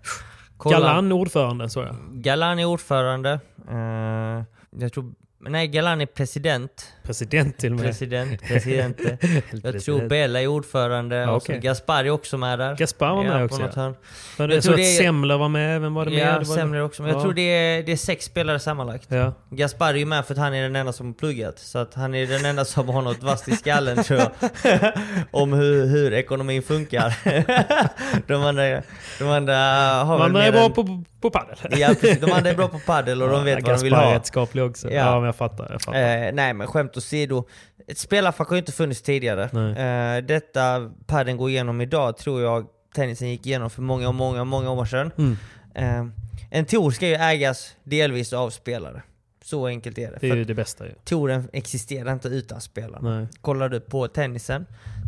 S4: Kolla-
S3: Galan ordförande såg jag.
S4: Galan är ordförande. Eh, jag tror... Nej, Galan är president.
S3: President till och med.
S4: President, president. Jag tror
S3: President.
S4: Bella är ordförande.
S3: Ja,
S4: och så
S3: okej.
S4: Gaspar är också med där.
S3: Gaspar var med
S4: på
S3: också,
S4: något
S3: ja.
S4: hörn.
S3: Men
S4: jag
S3: jag
S4: tror
S3: såg att
S4: det är-
S3: Semler var med. Vem var det med?
S4: Ja,
S3: Det var-
S4: Semler också. Men jag
S3: Ja.
S4: tror det är, det är sex spelare sammanlagt.
S3: Ja.
S4: Gaspar är ju med för att han är den enda som har pluggat. Så att han är den enda som har något vasst i skallen tror jag. Om hur, hur ekonomin funkar. de, andra, de andra har
S3: Man
S4: väl
S3: är
S4: mer
S3: bra
S4: än-
S3: på, på padel.
S4: Ja, precis. De andra är bra på paddel och de vet vad de vill
S3: Gaspar är
S4: ha.
S3: rätt skaplig också.
S4: Ja.
S3: Ja. men jag fattar. Jag fattar.
S4: Eh, nej men skämt åsido, ett spelarfack har ju inte funnits tidigare. Eh, detta padden går igenom idag tror jag tennisen gick igenom för många, många, många år sedan.
S3: Mm.
S4: Eh, en tour ska ju ägas delvis av spelare. Så enkelt är det.
S3: det
S4: För
S3: är
S4: att
S3: ju det bästa ju.
S4: touren existerar inte utan spelarna.
S3: Nej.
S4: Kollar du på tennisen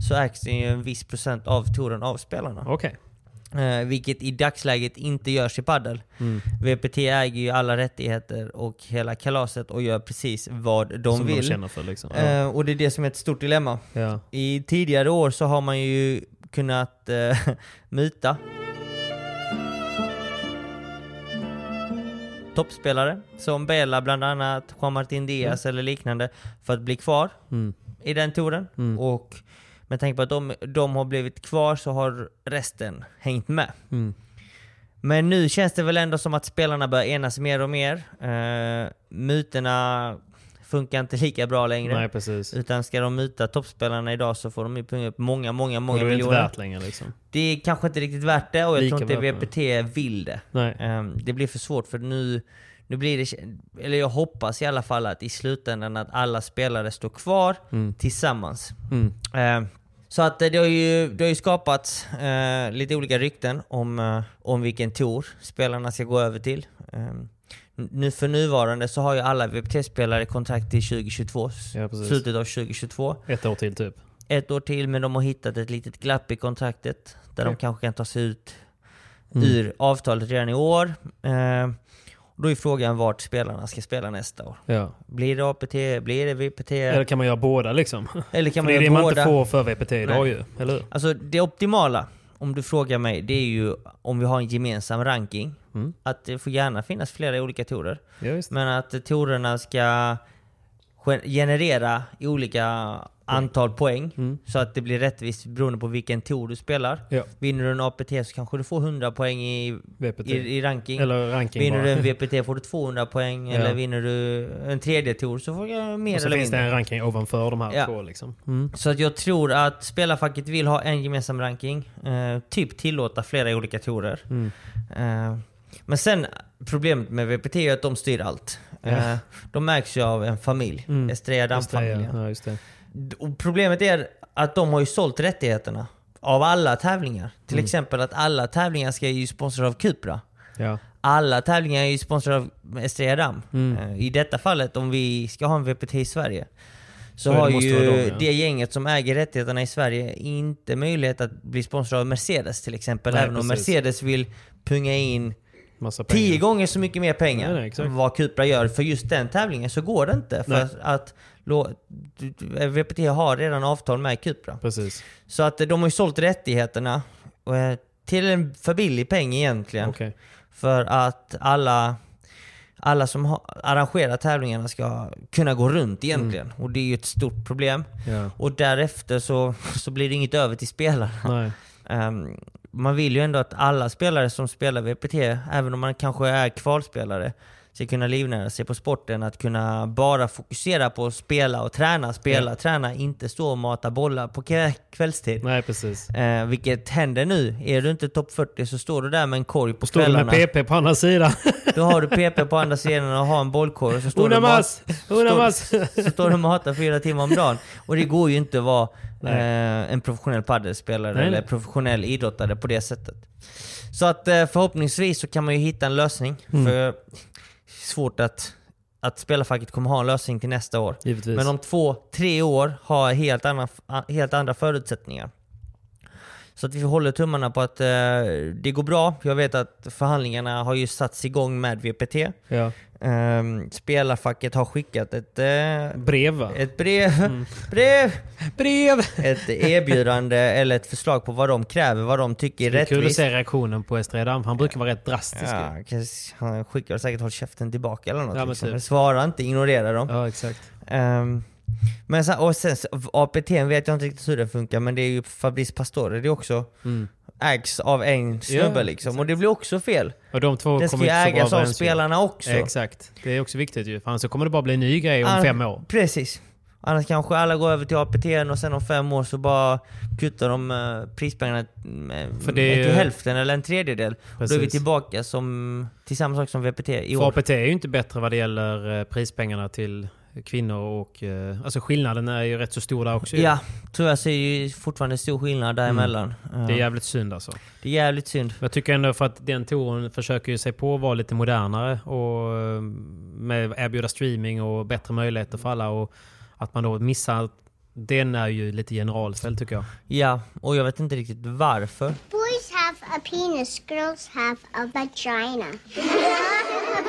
S4: så ägs den ju en viss procent av touren av spelarna.
S3: Okej.
S4: Eh, vilket i dagsläget inte görs i paddel.
S3: Mm.
S4: VPT äger ju alla rättigheter och hela kalaset och gör precis vad de
S3: Som de
S4: vill.
S3: känner för liksom. Ja.
S4: Eh, och det är det som är ett stort dilemma.
S3: ja.
S4: I tidigare år så har man ju kunnat eh, muta toppspelare som Bella bland annat, Juan Martin Diaz
S3: Mm.
S4: eller liknande för att bli kvar i den touren.
S3: Mm.
S4: Och med tanke på att de, de har blivit kvar så har resten hängt med.
S3: Mm.
S4: Men nu känns det väl ändå som att spelarna börjar enas mer och mer. Eh, mutorna funkar inte lika bra längre.
S3: Nej, precis.
S4: Utan ska de muta toppspelarna idag så får de ju punga upp många, många,
S3: Och
S4: många
S3: då är det inte
S4: miljoner.
S3: värt längre liksom.
S4: Det är kanske inte riktigt värt det och jag
S3: Lika
S4: tror inte
S3: värt
S4: VPT vill det.
S3: Nej.
S4: Ehm, det blir för svårt för nu, nu blir det, eller jag hoppas i alla fall att i slutändan att alla spelare står kvar
S3: Mm.
S4: tillsammans. Ehm, så att eh, det har ju, det har ju skapats eh, lite olika rykten om, eh, om vilken tour spelarna ska gå över till. Ehm, nu för nuvarande så har ju alla VPT-spelare kontrakt till 2022,
S3: Ja, precis.
S4: slutet av 2022
S3: Ett år till typ.
S4: ett år till men de har hittat ett litet glapp i kontraktet där de kanske kan ta sig ut ur avtalet redan i år. Eh, och då är frågan vart spelarna ska spela nästa år.
S3: Ja.
S4: Blir det APT? Blir det VPT?
S3: Eller kan man göra båda liksom?
S4: Eller kan
S3: För
S4: man
S3: det är det
S4: göra
S3: man inte
S4: båda?
S3: får för VPT idag
S4: Nej.
S3: ju. Eller hur?
S4: Alltså det optimala, om du frågar mig, det är ju om vi har en gemensam ranking. Att det får gärna finnas flera olika torer.
S3: Ja, visst.
S4: Men att torerna ska gen- generera i olika antal poäng. Så att det blir rättvist beroende på vilken tour du spelar.
S3: Mm. Ja.
S4: Vinner du en APT så kanske du får 100 poäng i,
S3: VPT.
S4: i, i ranking.
S3: Eller ranking
S4: vinner
S3: bara.
S4: du en VPT får du 200 poäng.
S3: Ja.
S4: Eller vinner du en tredje tour så får du
S3: Och
S4: mer
S3: så
S4: eller
S3: finns det
S4: mindre.
S3: en ranking ovanför de här
S4: Ja.
S3: två liksom.
S4: Så att jag tror att spelarfacket vill ha en gemensam ranking. Eh, typ tillåta flera olika torer. Eh, men sen problemet med VPT är att de styr allt. Eh, de märks ju av en familj. Estrella Damm-familjen.
S3: Mm. Ja, just det.
S4: Och problemet är att de har ju sålt rättigheterna av alla tävlingar. Till exempel att alla tävlingar ska ju sponsras av Cupra.
S3: Ja.
S4: Alla tävlingar är ju sponsrade av Estrella Damm.
S3: Mm.
S4: Eh, I detta fallet, om vi ska ha en VPT i Sverige, så,
S3: är det,
S4: har
S3: måste
S4: ju
S3: vara dem, ja.
S4: det gänget som äger rättigheterna i Sverige inte möjlighet att bli sponsrade av Mercedes till exempel.
S3: Nej,
S4: även om
S3: precis.
S4: Mercedes vill punga in
S3: Massa pengar.
S4: tio gånger så mycket mer pengar
S3: Nej, nej, exakt.
S4: än vad Cupra gör för just den tävlingen så går det inte. För
S3: Nej.
S4: att, att lå- du- du- VPT har redan avtal med Cupra.
S3: Precis.
S4: Så att eh, de har ju sålt rättigheterna och, eh, till en för billig peng egentligen.
S3: Okej.
S4: För att alla, alla som har, arrangerar tävlingarna ska kunna gå runt egentligen. Och det är ju ett stort problem.
S3: Mm. Ja.
S4: Och därefter så, så blir det inget över till spelarna.
S3: Nej.
S4: Ehm, man vill ju ändå att alla spelare som spelar VPT, även om man kanske är kvalspelare, ska kunna livnära sig på sporten. Att kunna bara fokusera på att spela och träna, spela, träna, inte stå och mata bollar på kve- kvällstid.
S3: Nej, precis.
S4: Eh, vilket händer nu. Är du inte topp 40 så står du där med en korg på
S3: Står det
S4: kvällarna.
S3: med PP på andra sidan?
S4: Då har du PP på andra sidan och har en bollkorg. och Så står
S3: Una
S4: du och ma-
S3: mas! Una mas!
S4: så står du och matar fyra timmar om dagen. Och det går ju inte att vara eh, en professionell paddelspelare
S3: Nej,
S4: eller
S3: nej.
S4: professionell idrottare på det sättet. Så att eh, förhoppningsvis så kan man ju hitta en lösning.
S3: Mm.
S4: För svårt att, att spelarfacket kommer ha en lösning till nästa år.
S3: Givetvis.
S4: Men om två, tre år har helt, annan, helt andra förutsättningar. Så att vi håller tummarna på att eh, det går bra. Jag vet att förhandlingarna har ju satts igång med VPT.
S3: Ja.
S4: Ehm, spelarfacket har skickat ett, eh,
S3: Brev Mm. va?
S4: ett brev, brev,
S3: brev!
S4: ett erbjudande eller ett förslag på vad de kräver, vad de tycker är
S3: Det är kul att
S4: rättvist.
S3: se reaktionen på Estrella Damm. Han brukar vara rätt drastisk.
S4: Ja,
S3: Ja,
S4: kanske- han skickar säkert håll käften tillbaka eller något.
S3: Ja, men
S4: liksom.
S3: typ.
S4: Svara inte, ignorera dem.
S3: ja exakt.
S4: Ehm, men sen, och sen, så- APT vet jag inte riktigt hur den funkar men det är ju Fabrice Pastore, det är också ägs av en snubbe
S3: Mm. Ja,
S4: liksom. Och det blir också fel.
S3: Och de två
S4: Den ska
S3: kommer
S4: ju
S3: inte så bra
S4: ägas av
S3: överens, ju.
S4: spelarna också.
S3: Exakt. Det är också viktigt ju. För annars så kommer det bara bli en ny grej om
S4: An-
S3: fem år.
S4: Precis. Annars kanske alla går över till APT och sen om fem år så bara kuttar de eh, prispengarna eh,
S3: För det är
S4: till
S3: ju-
S4: hälften eller en tredjedel. Och Då är vi
S3: Precis.
S4: tillbaka som, till samma sak som VPT i
S3: För
S4: år.
S3: APT är ju inte bättre vad det gäller eh, prispengarna till kvinnor och... eh, Alltså skillnaden är ju rätt så stor där också ju. Mm.
S4: Ja, tyvärr så är det ju fortfarande stor skillnad däremellan. Eh,
S3: Det är jävligt synd alltså.
S4: det är jävligt synd.
S3: Men Jag tycker ändå för att den touren försöker ju sig på att vara lite modernare och eh, med erbjuda streaming och bättre möjligheter för alla. Och att man då missar... Den är ju lite generalställd tycker jag.
S4: Ja, och jag vet inte riktigt varför.
S7: Boys have a penis, girls have a vagina.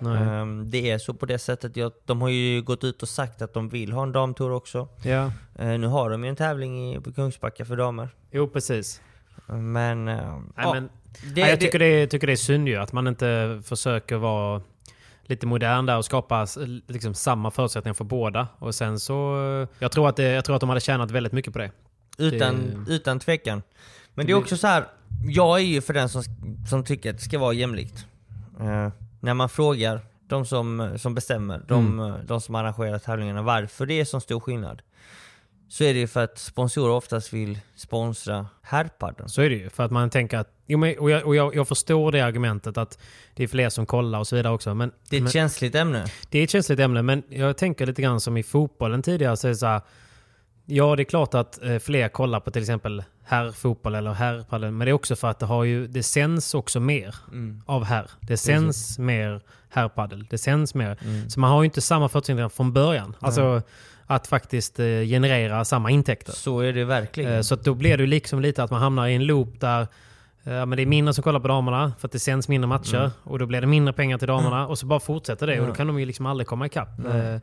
S4: Ehm, Det är så på det sättet. Jag- De har ju gått ut och sagt att de vill ha en damtour också.
S3: Ja.
S4: Eh, Nu har de ju en tävling i- på Kungsbacka för damer.
S3: Jo, precis.
S4: Men... ehm,
S3: Nej,
S4: ja.
S3: men,
S4: Det-
S3: nej,
S4: det-
S3: jag tycker det, är- tycker det är synd ju att man inte försöker vara lite modern där och skapa s- liksom, samma förutsättningar för båda. Och sen så... eh, Jag tror, att det, jag tror att de hade tjänat väldigt mycket på det.
S4: Utan, utan tvekan. Men det är också så här. jag är ju för den som, som tycker att det ska vara jämlikt. Eh, när man frågar de som, som bestämmer, de, de som arrangerar tävlingarna, varför det är så stor skillnad. Så är det ju för att sponsorer oftast vill sponsra herrpadden.
S3: Så är det ju. För att man tänker att... Jo, men, och jag, och jag, jag förstår det argumentet att det är fler som kollar och så vidare också. Men
S4: Det är ett känsligt ämne.
S3: Det är ett känsligt ämne, men jag tänker lite grann som i fotbollen tidigare. Så är det så här, ja, det är klart att eh, fler kollar på till exempel herrfotboll eller herrpadel, men det är också för att det, har ju, det sänds också mer av herr. Det sänds mer herrpadel. Det sänds mer. Så man har ju inte samma förutsättningar från början. Alltså att faktiskt eh, generera samma intäkter.
S4: Så är det verkligen.
S3: Eh, Så att då blir det ju liksom lite att man hamnar i en loop där eh, ja, men det är mindre som kollar på damerna för att det sänds mindre matcher och då blir det mindre pengar till damerna och så bara fortsätter det och då kan de ju liksom aldrig komma ikapp. Eh,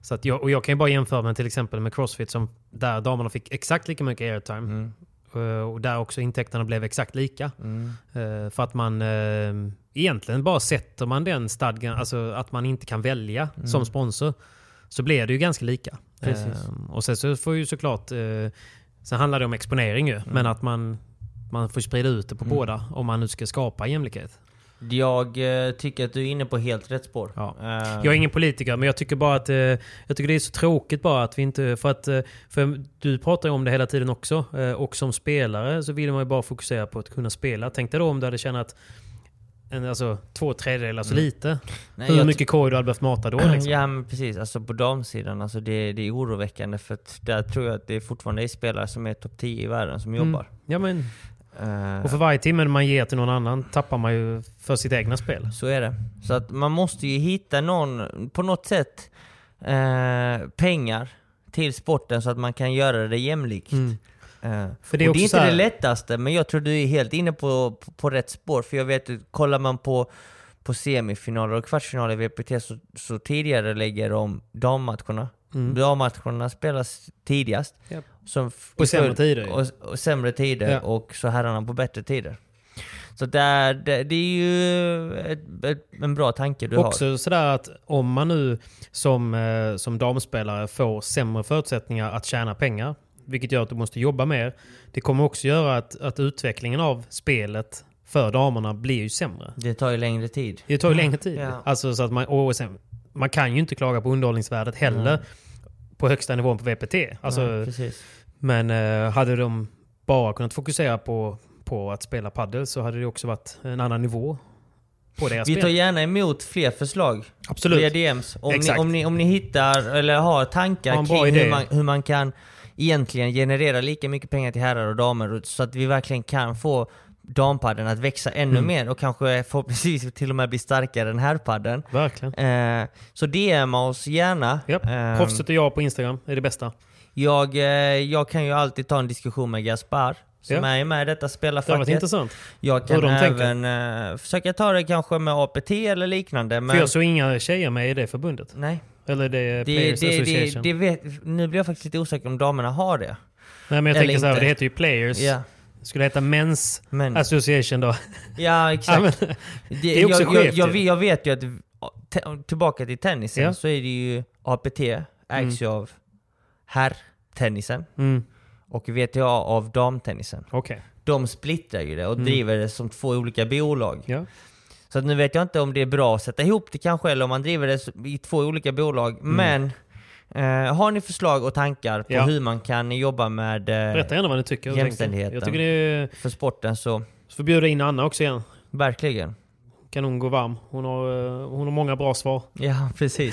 S3: Så att jag, och jag kan ju bara jämföra med till exempel med Crossfit som där damerna fick exakt lika mycket airtime. Eh, Och där också intäkterna blev exakt lika. Eh, För att man eh, egentligen bara sätter man den stadgan, alltså att man inte kan välja som sponsor, så blir det ju ganska lika.
S4: Precis.
S3: Ehm, och sen så får ju såklart... Eh, sen handlar det om exponering ju, men att man, man får sprida ut det på båda om man nu ska skapa jämlikhet.
S4: Jag eh, tycker att du är inne på helt rätt spår.
S3: Ja.
S4: Eh,
S3: Jag är ingen politiker, men jag tycker bara att eh, jag tycker det är så tråkigt bara att vi inte... För att eh, för du pratar ju om det hela tiden också. eh, Och som spelare så vill man ju bara fokusera på att kunna spela. Tänk dig då om du hade tjänat en, alltså, två tredjedelar så lite.
S4: Nej,
S3: Hur
S4: jag-
S3: mycket korg du hade behövt mata då liksom.
S4: Ja men precis, alltså på damsidan, alltså det, det är oroväckande för att där tror jag att det fortfarande är spelare som är topp 10 i världen som jobbar.
S3: Ja, men,
S4: Mm. Eh,
S3: och för varje timme man ger till någon annan tappar man ju för sitt egna spel.
S4: Så är det. Så att man måste ju hitta någon, på något sätt, eh, pengar till sporten så att man kan göra det jämlikt. Eh,
S3: Mm. För
S4: För
S3: det är
S4: det är, och
S3: också
S4: det är
S3: så
S4: inte
S3: här-
S4: det lättaste, men jag tror du är helt inne på, på, på rätt spår. För jag vet att kollar man på, på semifinaler och kvartsfinaler i VPT så, så tidigare lägger de dammatcherna. Dammatcherna spelas tidigast.
S3: Mm. Japp.
S4: Som f-
S3: På
S4: i full-
S3: sämre tider ju.
S4: Och, och sämre tider
S3: Ja.
S4: och så herrarna på bättre tider. Så där, det, det är ju ett, ett, en bra tanke du har.
S3: Också sådär att om man nu som, eh, som damspelare får sämre förutsättningar att tjäna pengar, vilket gör att du måste jobba mer, det kommer också göra att, att utvecklingen av spelet för damerna blir ju sämre.
S4: Det tar ju längre tid.
S3: Det tar ju längre tid.
S4: Ja.
S3: Alltså, så att man, och sen, man kan ju inte klaga på underhållningsvärdet heller
S4: Mm.
S3: på högsta nivån på VPT. Alltså,
S4: Ja, precis.
S3: men eh, hade de bara kunnat fokusera på, på att spela padel så hade det också varit en annan nivå på deras
S4: Vi tar
S3: spel.
S4: gärna emot fler förslag.
S3: Absolut.
S4: Via DMs. Om ni,
S3: Exakt.
S4: om, ni, om ni hittar eller har tankar
S3: Ha en bra
S4: kring
S3: idé.
S4: hur man, hur man kan egentligen generera lika mycket pengar till herrar och damer och- så att vi verkligen kan få dampadden att växa ännu
S3: Mm.
S4: mer och kanske förhoppningsvis till och med bli starkare än herrpadden.
S3: Verkligen.
S4: Eh, så DMa oss gärna.
S3: Japp.
S4: Ehm,
S3: Proffset och jag på Instagram är det bästa.
S4: jag, eh, jag kan ju alltid ta en diskussion med Gaspar som
S3: Ja.
S4: är med i detta
S3: Det har varit
S4: spelarfacket.
S3: intressant.
S4: Jag
S3: Hur
S4: kan
S3: de tänker.
S4: även eh, försöka ta det kanske med APT eller liknande. Men...
S3: För jag såg inga tjejer med i det förbundet.
S4: Nej,
S3: Eller det,
S4: det,
S3: Players
S4: det, det,
S3: Association.
S4: det vet, nu blir jag faktiskt lite osäker om damerna har det.
S3: Nej men jag
S4: eller
S3: tänker så här,
S4: inte.
S3: det heter ju Players.
S4: Ja,
S3: Skulle heta Men's
S4: men,
S3: Association då.
S4: ja
S3: Ja,
S4: exakt.
S3: men,
S4: det,
S3: är också
S4: jag, jag,
S3: skevt
S4: jag,
S3: ju.
S4: vet- jag vet ju att, te, tillbaka till tennisen,
S3: Ja.
S4: så är det ju APT ägs ju av herrtennisen
S3: mm,
S4: och VTA av damtennisen.
S3: Okej.
S4: De splittrar ju det och driver det som två olika bolag.
S3: Mm. Ja.
S4: Så att nu vet jag inte om det är bra att sätta ihop det kanske, eller om man driver det i två olika bolag. Men eh, har ni förslag och tankar på
S3: Mm. Ja.
S4: hur man kan jobba med eh,
S3: Berätta gärna vad ni tycker. och tänker.
S4: Jämställdheten.
S3: Jag tycker det är...
S4: för sporten så
S3: Får bjuda in Anna också igen.
S4: verkligen.
S3: Kan hon gå varm. Hon har, eh, hon har många bra svar.
S4: Ja, precis.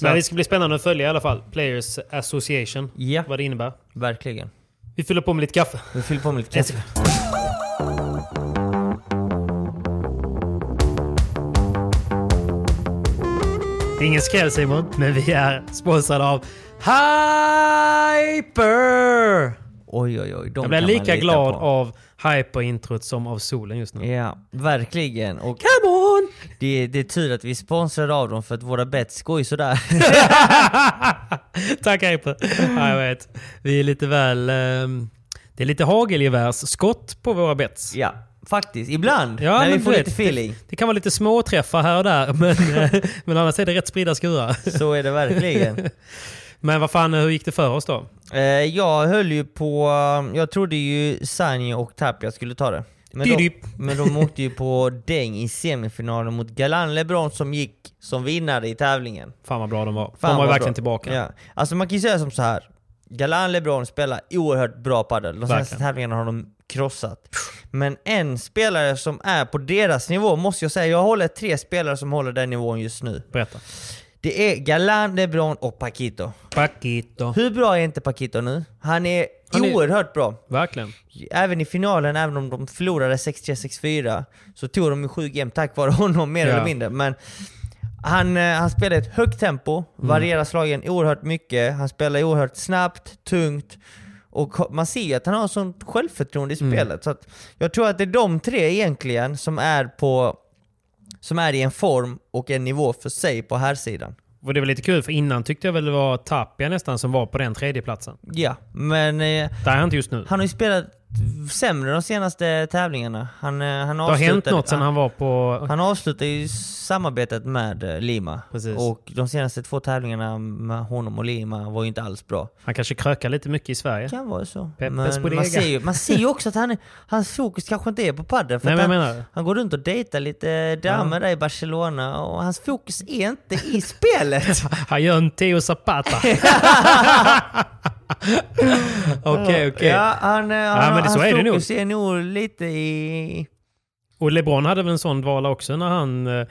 S3: Men det ska bli spännande att följa i alla fall. Players Association.
S4: ja,
S3: Vad det innebär.
S4: verkligen.
S3: Vi fyller på med lite kaffe.
S4: Vi fyller på med lite kaffe.
S3: Det är ingen skräll Simon, men vi är sponsrade av Hyper!
S4: Oj, oj, oj. De
S3: Jag blir
S4: kan man
S3: lika
S4: lita
S3: glad
S4: på.
S3: av Hyper-introt som av solen just nu.
S4: Ja, verkligen. Och
S3: Come on!
S4: det, det är tur att vi är sponsrade av dem för att våra bets går ju sådär.
S3: Tack Hyper! Ja, jag vet. Vi är lite väl... ehm, det är lite hagelgevärsskott på våra bets.
S4: ja, faktiskt. Ibland.
S3: Ja,
S4: när
S3: men
S4: vi
S3: du
S4: får
S3: vet,
S4: lite feeling.
S3: Det kan vara lite småträffar här och där, men, eh, men annars är det rätt spridda skurar.
S4: Så är det verkligen.
S3: Men vad fan, hur gick det för oss då?
S4: Eh, jag höll ju på... Jag trodde ju Sanji och Tapia skulle ta det. Men de,
S3: Didip.
S4: men de åkte ju på däng i semifinalen mot Galan LeBron som gick som vinnare i tävlingen.
S3: Fan vad bra de var. de
S4: Fan
S3: var
S4: vad
S3: ju verkligen
S4: bra.
S3: tillbaka.
S4: Ja. Alltså man kan ju säga som så här. Galan LeBron spelar oerhört bra padel. De senaste
S3: Verkligen.
S4: tävlingarna har de krossat. Men en spelare som är på deras nivå måste jag säga, jag håller tre spelare som håller den nivån just nu.
S3: Berätta.
S4: Det är Galan, LeBron och Paquito.
S3: Paquito.
S4: Hur bra är inte Paquito nu? Han är
S3: Han är-
S4: oerhört bra.
S3: Verkligen.
S4: Även i finalen, även om de förlorade 6-3-6-4, så tog de ju sju game tack vare honom mer
S3: Ja.
S4: eller mindre. Men han, eh, han spelar i ett högt tempo,
S3: Mm.
S4: varierar slagen oerhört mycket. Han spelar oerhört snabbt, tungt. Och ho- man ser ju att han har sånt självförtroende
S3: Mm.
S4: i spelet. Så att jag tror att det är de tre egentligen som är, på, som är i en form och en nivå för sig på här sidan.
S3: Och det var lite kul, för innan tyckte jag väl det var Tapia nästan som var på den tredje platsen.
S4: Ja, men eh,
S3: Där är han inte just nu.
S4: han har ju spelat sämre de senaste tävlingarna. Han, eh, han
S3: Det har hänt
S4: avslutade-
S3: något sen han var på...
S4: Han avslutar ju samarbetet med eh, Lima.
S3: Precis.
S4: Och de senaste två tävlingarna med honom och Lima var ju inte alls bra.
S3: Han kanske krökar lite mycket i Sverige.
S4: Det kan vara så.
S3: Peppes
S4: Men
S3: bodega.
S4: man ser, ju, man ser ju också att han, är- hans fokus kanske inte är på padel. För
S3: Nej,
S4: att
S3: men jag
S4: han,
S3: menar det.
S4: han går runt och dejtar lite damer där i Barcelona och hans fokus är inte i spelet.
S3: Han gör en Teo Zapata. Okej, okej.
S4: Ja, han, eh, han,
S3: men det- så
S4: hans
S3: är det nog.
S4: fokus är nog lite i...
S3: Och LeBron hade väl en sån dvala också när han eh,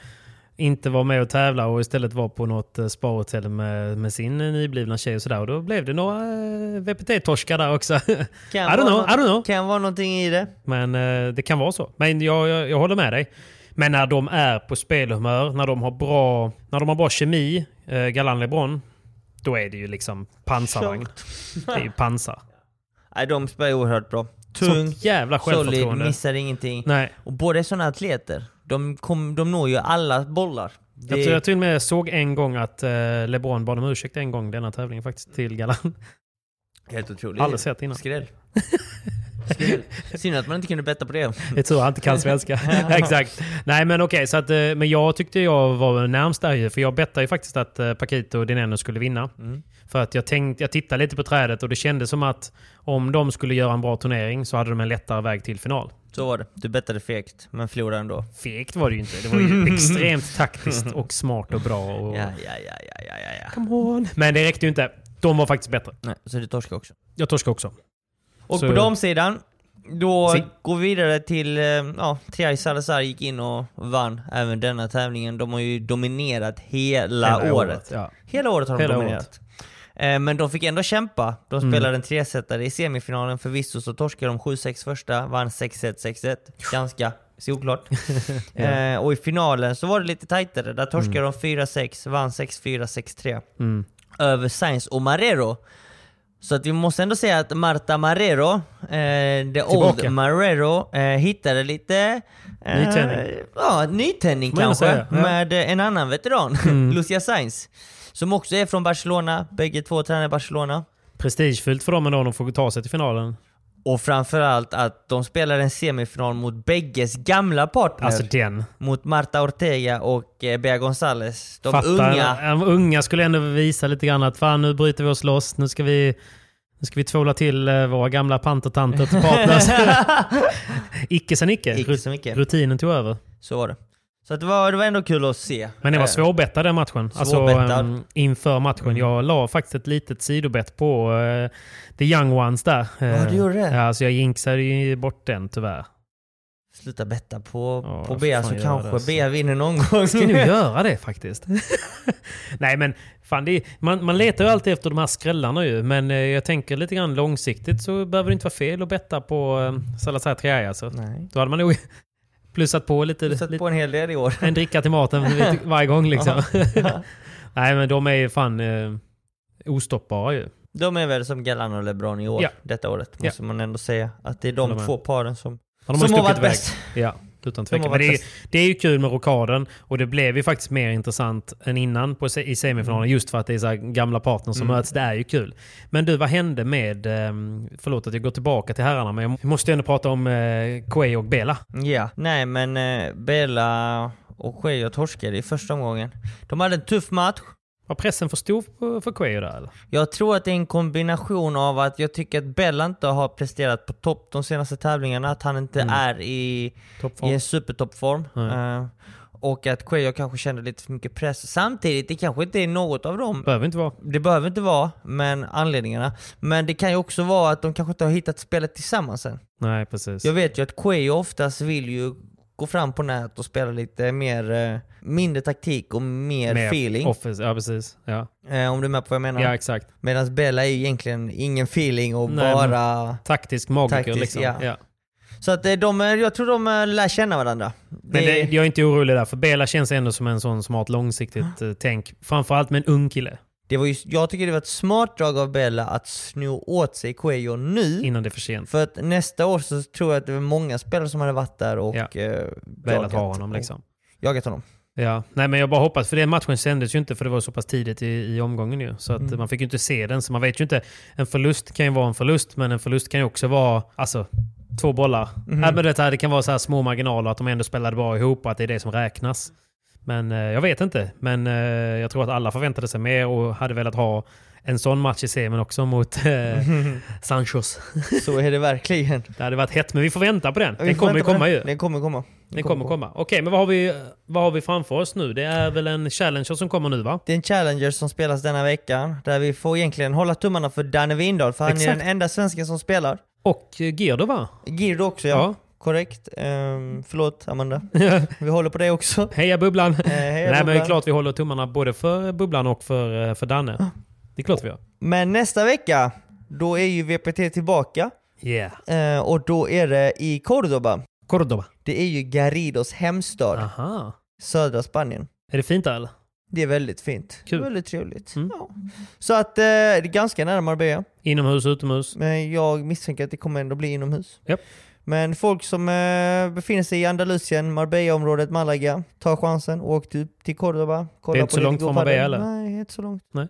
S3: inte var med och tävla och istället var på något eh, sparhotell med, med sin eh, nyblivna tjej och sådär. Och då blev det några eh, VPT-torskar där också. I
S4: vara
S3: don't know, I
S4: nå-
S3: don't know.
S4: Kan vara någonting i det.
S3: Men eh, det kan vara så. Men jag, jag, jag håller med dig. Men när de är på spelhumör, när de har bra, när de har bra kemi, eh, Galan LeBron, då är det ju liksom pansarvagn. Det är ju pansar.
S4: Nej, de spelar oerhört bra. Tungt,
S3: Sånt jävla
S4: solid,
S3: självförtroende.
S4: missar ingenting.
S3: Nej.
S4: Och båda är sådana atleter. De, kom, de når ju alla bollar. Det,
S3: Jag, tror, jag till och med såg en gång att eh, LeBron bad om ursäkt en gång denna tävlingen faktiskt till Galan.
S4: Helt otroligt.
S3: Aldrig sett innan.
S4: Skräll. Skräll. Synd att man inte kunde betta på det.
S3: Det är tur han inte kan svenska. Exakt. Nej men okej, så att, eh, men jag tyckte jag var närmst där ju. För jag bettade ju faktiskt att eh, Paquito Dineno skulle vinna.
S4: Mm.
S3: För att jag, tänkte, jag tittade lite på trädet och det kändes som att om de skulle göra en bra turnering så hade de en lättare väg till final.
S4: Så var det. Du bettade fegt, men förlorade ändå.
S3: Fegt var det ju inte. Det var ju extremt taktiskt och smart och bra. Och...
S4: Ja, ja, ja, ja, ja, ja, ja.
S3: Men det räckte ju inte. De var faktiskt bättre.
S4: Nej, så du torskade också.
S3: Jag torskade också.
S4: Och
S3: Så-
S4: på damsidan, då
S3: Si.
S4: går vi vidare till... eh, Ja, Triay Salazar gick in och vann även denna tävlingen. De har ju dominerat hela,
S3: Hela
S4: året.
S3: året, ja.
S4: Hela året har de
S3: Hela Mm.
S4: dominerat. Eh, Men de fick ändå kämpa. De spelade en tresetare i semifinalen. Förvisso så torskade de 7-6 första, vann 6-1, 6-1. Ganska solklart. Eh, Och i finalen så var det lite tajtare. Där torskade
S3: Mm.
S4: de 4-6, vann 6-4, 6-3. Över Sainz och Marrero. Så att vi måste ändå säga att Marta Marrero, eh, the
S3: Tillbaka.
S4: old Marrero, eh, hittade lite... Eh,
S3: Nytändning.
S4: Ja, nytändning
S3: Får man
S4: kanske.
S3: säga, ja. Mm.
S4: Med eh, en annan veteran, Lucia Sainz. Som också är från Barcelona. Bägge två tränar i Barcelona.
S3: Prestigefyllt för dem ändå om de får ta sig till finalen.
S4: Och framförallt att de spelar en semifinal mot bägges gamla partner.
S3: Alltså den.
S4: mot Marta Ortega och eh, Bea Gonzales. De
S3: Fattar.
S4: unga.
S3: De unga skulle ändå visa lite grann att fan nu bryter vi oss loss. Nu ska vi, nu ska vi tvåla till eh, våra gamla pantertanter till partners. icke sen icke.
S4: Icke sen icke.
S3: Rutinen tog över.
S4: Så var det. Så att det, var, det var ändå kul att se.
S3: Men det var
S4: Eh, Mm.
S3: svårbettad den matchen. Alltså,
S4: Svårbettad.
S3: ehm, inför matchen. Jag la faktiskt ett litet sidobett på eh, the young ones där. Eh,
S4: Ja, du gjorde det?
S3: Ja, så jag jinxade ju bort den tyvärr.
S4: Sluta betta på,
S3: Ja,
S4: på
S3: vad
S4: Bea
S3: fan
S4: så
S3: gör
S4: kanske
S3: det, alltså?
S4: Bea vinner någon gång.
S3: Ska nu göra det faktiskt? Nej men, fan det är, man, man letar ju alltid efter de här skrällarna ju. Men eh, jag tänker lite grann långsiktigt så behöver det inte vara fel att betta på eh, Salazar Triay alltså.
S4: Nej.
S3: Då hade man nog plussat på lite.
S4: Du satt
S3: lite
S4: på en hel del i år.
S3: en dricka till maten lite varje gång liksom. Nej men de är ju fan eh, ostoppbara ju.
S4: De är väl som Galan och LeBron i år,
S3: Ja.
S4: detta året.
S3: Ja.
S4: Måste man ändå säga. Att det är
S3: Håller
S4: de
S3: med.
S4: två paren som...
S3: Ja,
S4: Som
S3: ju
S4: har
S3: stuckit
S4: varit
S3: iväg.
S4: bäst.
S3: Ja, utan
S4: har
S3: tvekan. Men
S4: varit
S3: det, är,
S4: bäst.
S3: det är ju kul med rockaden och det blev ju faktiskt mer intressant än innan på, se- i semifinalen just för att det är så här gamla partner som möts. Det är ju kul. Men du, vad hände med... ehm, Förlåt att jag går tillbaka till herrarna men jag måste ju ändå prata om eh, Quay och Bela.
S4: Ja. Nej men eh, Bella och Cuello torskade i första omgången. De hade en tuff match.
S3: Var pressen för stor för, för Quay där eller?
S4: Jag tror att det är en kombination av att jag tycker att Bella inte har presterat på topp de senaste tävlingarna. Att han inte är i,
S3: Toppform.
S4: i en supertoppform. Eh, och att Cuello kanske kände lite för mycket press. Samtidigt, det kanske inte är något av dem
S3: Behöver inte vara.
S4: Det behöver inte vara, men anledningarna. Men det kan ju också vara att de kanske inte har hittat spelet tillsammans än.
S3: Nej, precis.
S4: Jag vet ju att Quay oftast vill ju gå fram på nät och spela lite mer, eh, mindre taktik och mer,
S3: Mer
S4: feeling.
S3: Office. Ja, precis. Ja,
S4: Eh, om du är med på vad jag menar.
S3: ja exakt.
S4: Medan Bella är ju egentligen ingen feeling och
S3: Nej, men-
S4: bara...
S3: Taktisk magiker
S4: Taktisk,
S3: liksom.
S4: ja.
S3: Ja.
S4: Så att eh, de, är- jag tror de eh, lär känna varandra.
S3: Men det, jag är inte orolig där, för Bela känns ändå som en sån som har ett långsiktigt eh, tänk. Framförallt med en ung kille,
S4: det var ju, jag tycker det var ett smart drag av Bella att sno åt sig Quayo nu.
S3: innan det är för sent.
S4: För att nästa år så tror jag att det var många spelare som hade varit där och
S3: Ja.
S4: eh,
S3: Velat ha
S4: jagat-
S3: honom liksom.
S4: och Jagat honom.
S3: Ja. Nej men jag bara hoppas, för den matchen sändes ju inte för det var så pass tidigt i, i omgången ju. Så att
S4: Mm.
S3: man fick ju inte se den, så man vet ju inte. En förlust kan ju vara en förlust, men en förlust kan ju också vara... Alltså, två bollar.
S4: Mm.
S3: Ja, men det, här, det kan vara så här små marginaler, att de ändå spelade bra ihop och att det är det som räknas. Men eh, jag vet inte. Men eh, jag tror att alla förväntade sig mer och hade velat ha en sån match i semin också mot eh, Sanchos.
S4: Så är det verkligen.
S3: Det hade varit hett, men vi får vänta på den.
S4: Vi
S3: Den
S4: får
S3: kommer ju
S4: vänta på
S3: komma ju.
S4: den. Den kommer komma.
S3: Den kommer komma. Okej, men vad har, vi, vad har vi framför oss nu? Det är väl en challenger som kommer nu va?
S4: Det är en Challenger som spelas denna veckan, där vi får egentligen hålla tummarna för Danne Windahl, för han är
S3: Exakt.
S4: den enda svensken som spelar.
S3: Och eh, Girdo va?
S4: Girdo också ja.
S3: Ja.
S4: Korrekt. Ehm, förlåt Amanda. vi håller på det också.
S3: Heja Bubblan!
S4: Eh, heja,
S3: Nej men det
S4: Bubblan.
S3: är klart vi håller tummarna både för Bubblan och för, eh, för Danne. Det är klart vi gör.
S4: Men nästa vecka, då är ju VPT tillbaka.
S3: Yeah.
S4: Eh, och då är det i Cordoba.
S3: Cordoba.
S4: Det är ju Garridos hemstad,
S3: Aha.
S4: södra Spanien.
S3: Är det fint där eller?
S4: Det är väldigt fint.
S3: Kul.
S4: Väldigt trevligt.
S3: Mm.
S4: Ja. Så att eh, det är ganska nära Marbella.
S3: Inomhus, utomhus?
S4: Men jag misstänker att det kommer ändå bli inomhus.
S3: Japp.
S4: Men folk som eh, befinner sig i Andalusien, Marbella-området, Malaga, ta chansen. Åk till, till Cordoba. Kolla
S3: Det är inte
S4: på
S3: så
S4: lite
S3: långt
S4: god
S3: från Marbella,
S4: padel.
S3: eller?
S4: Nej, inte så långt.
S3: Nej.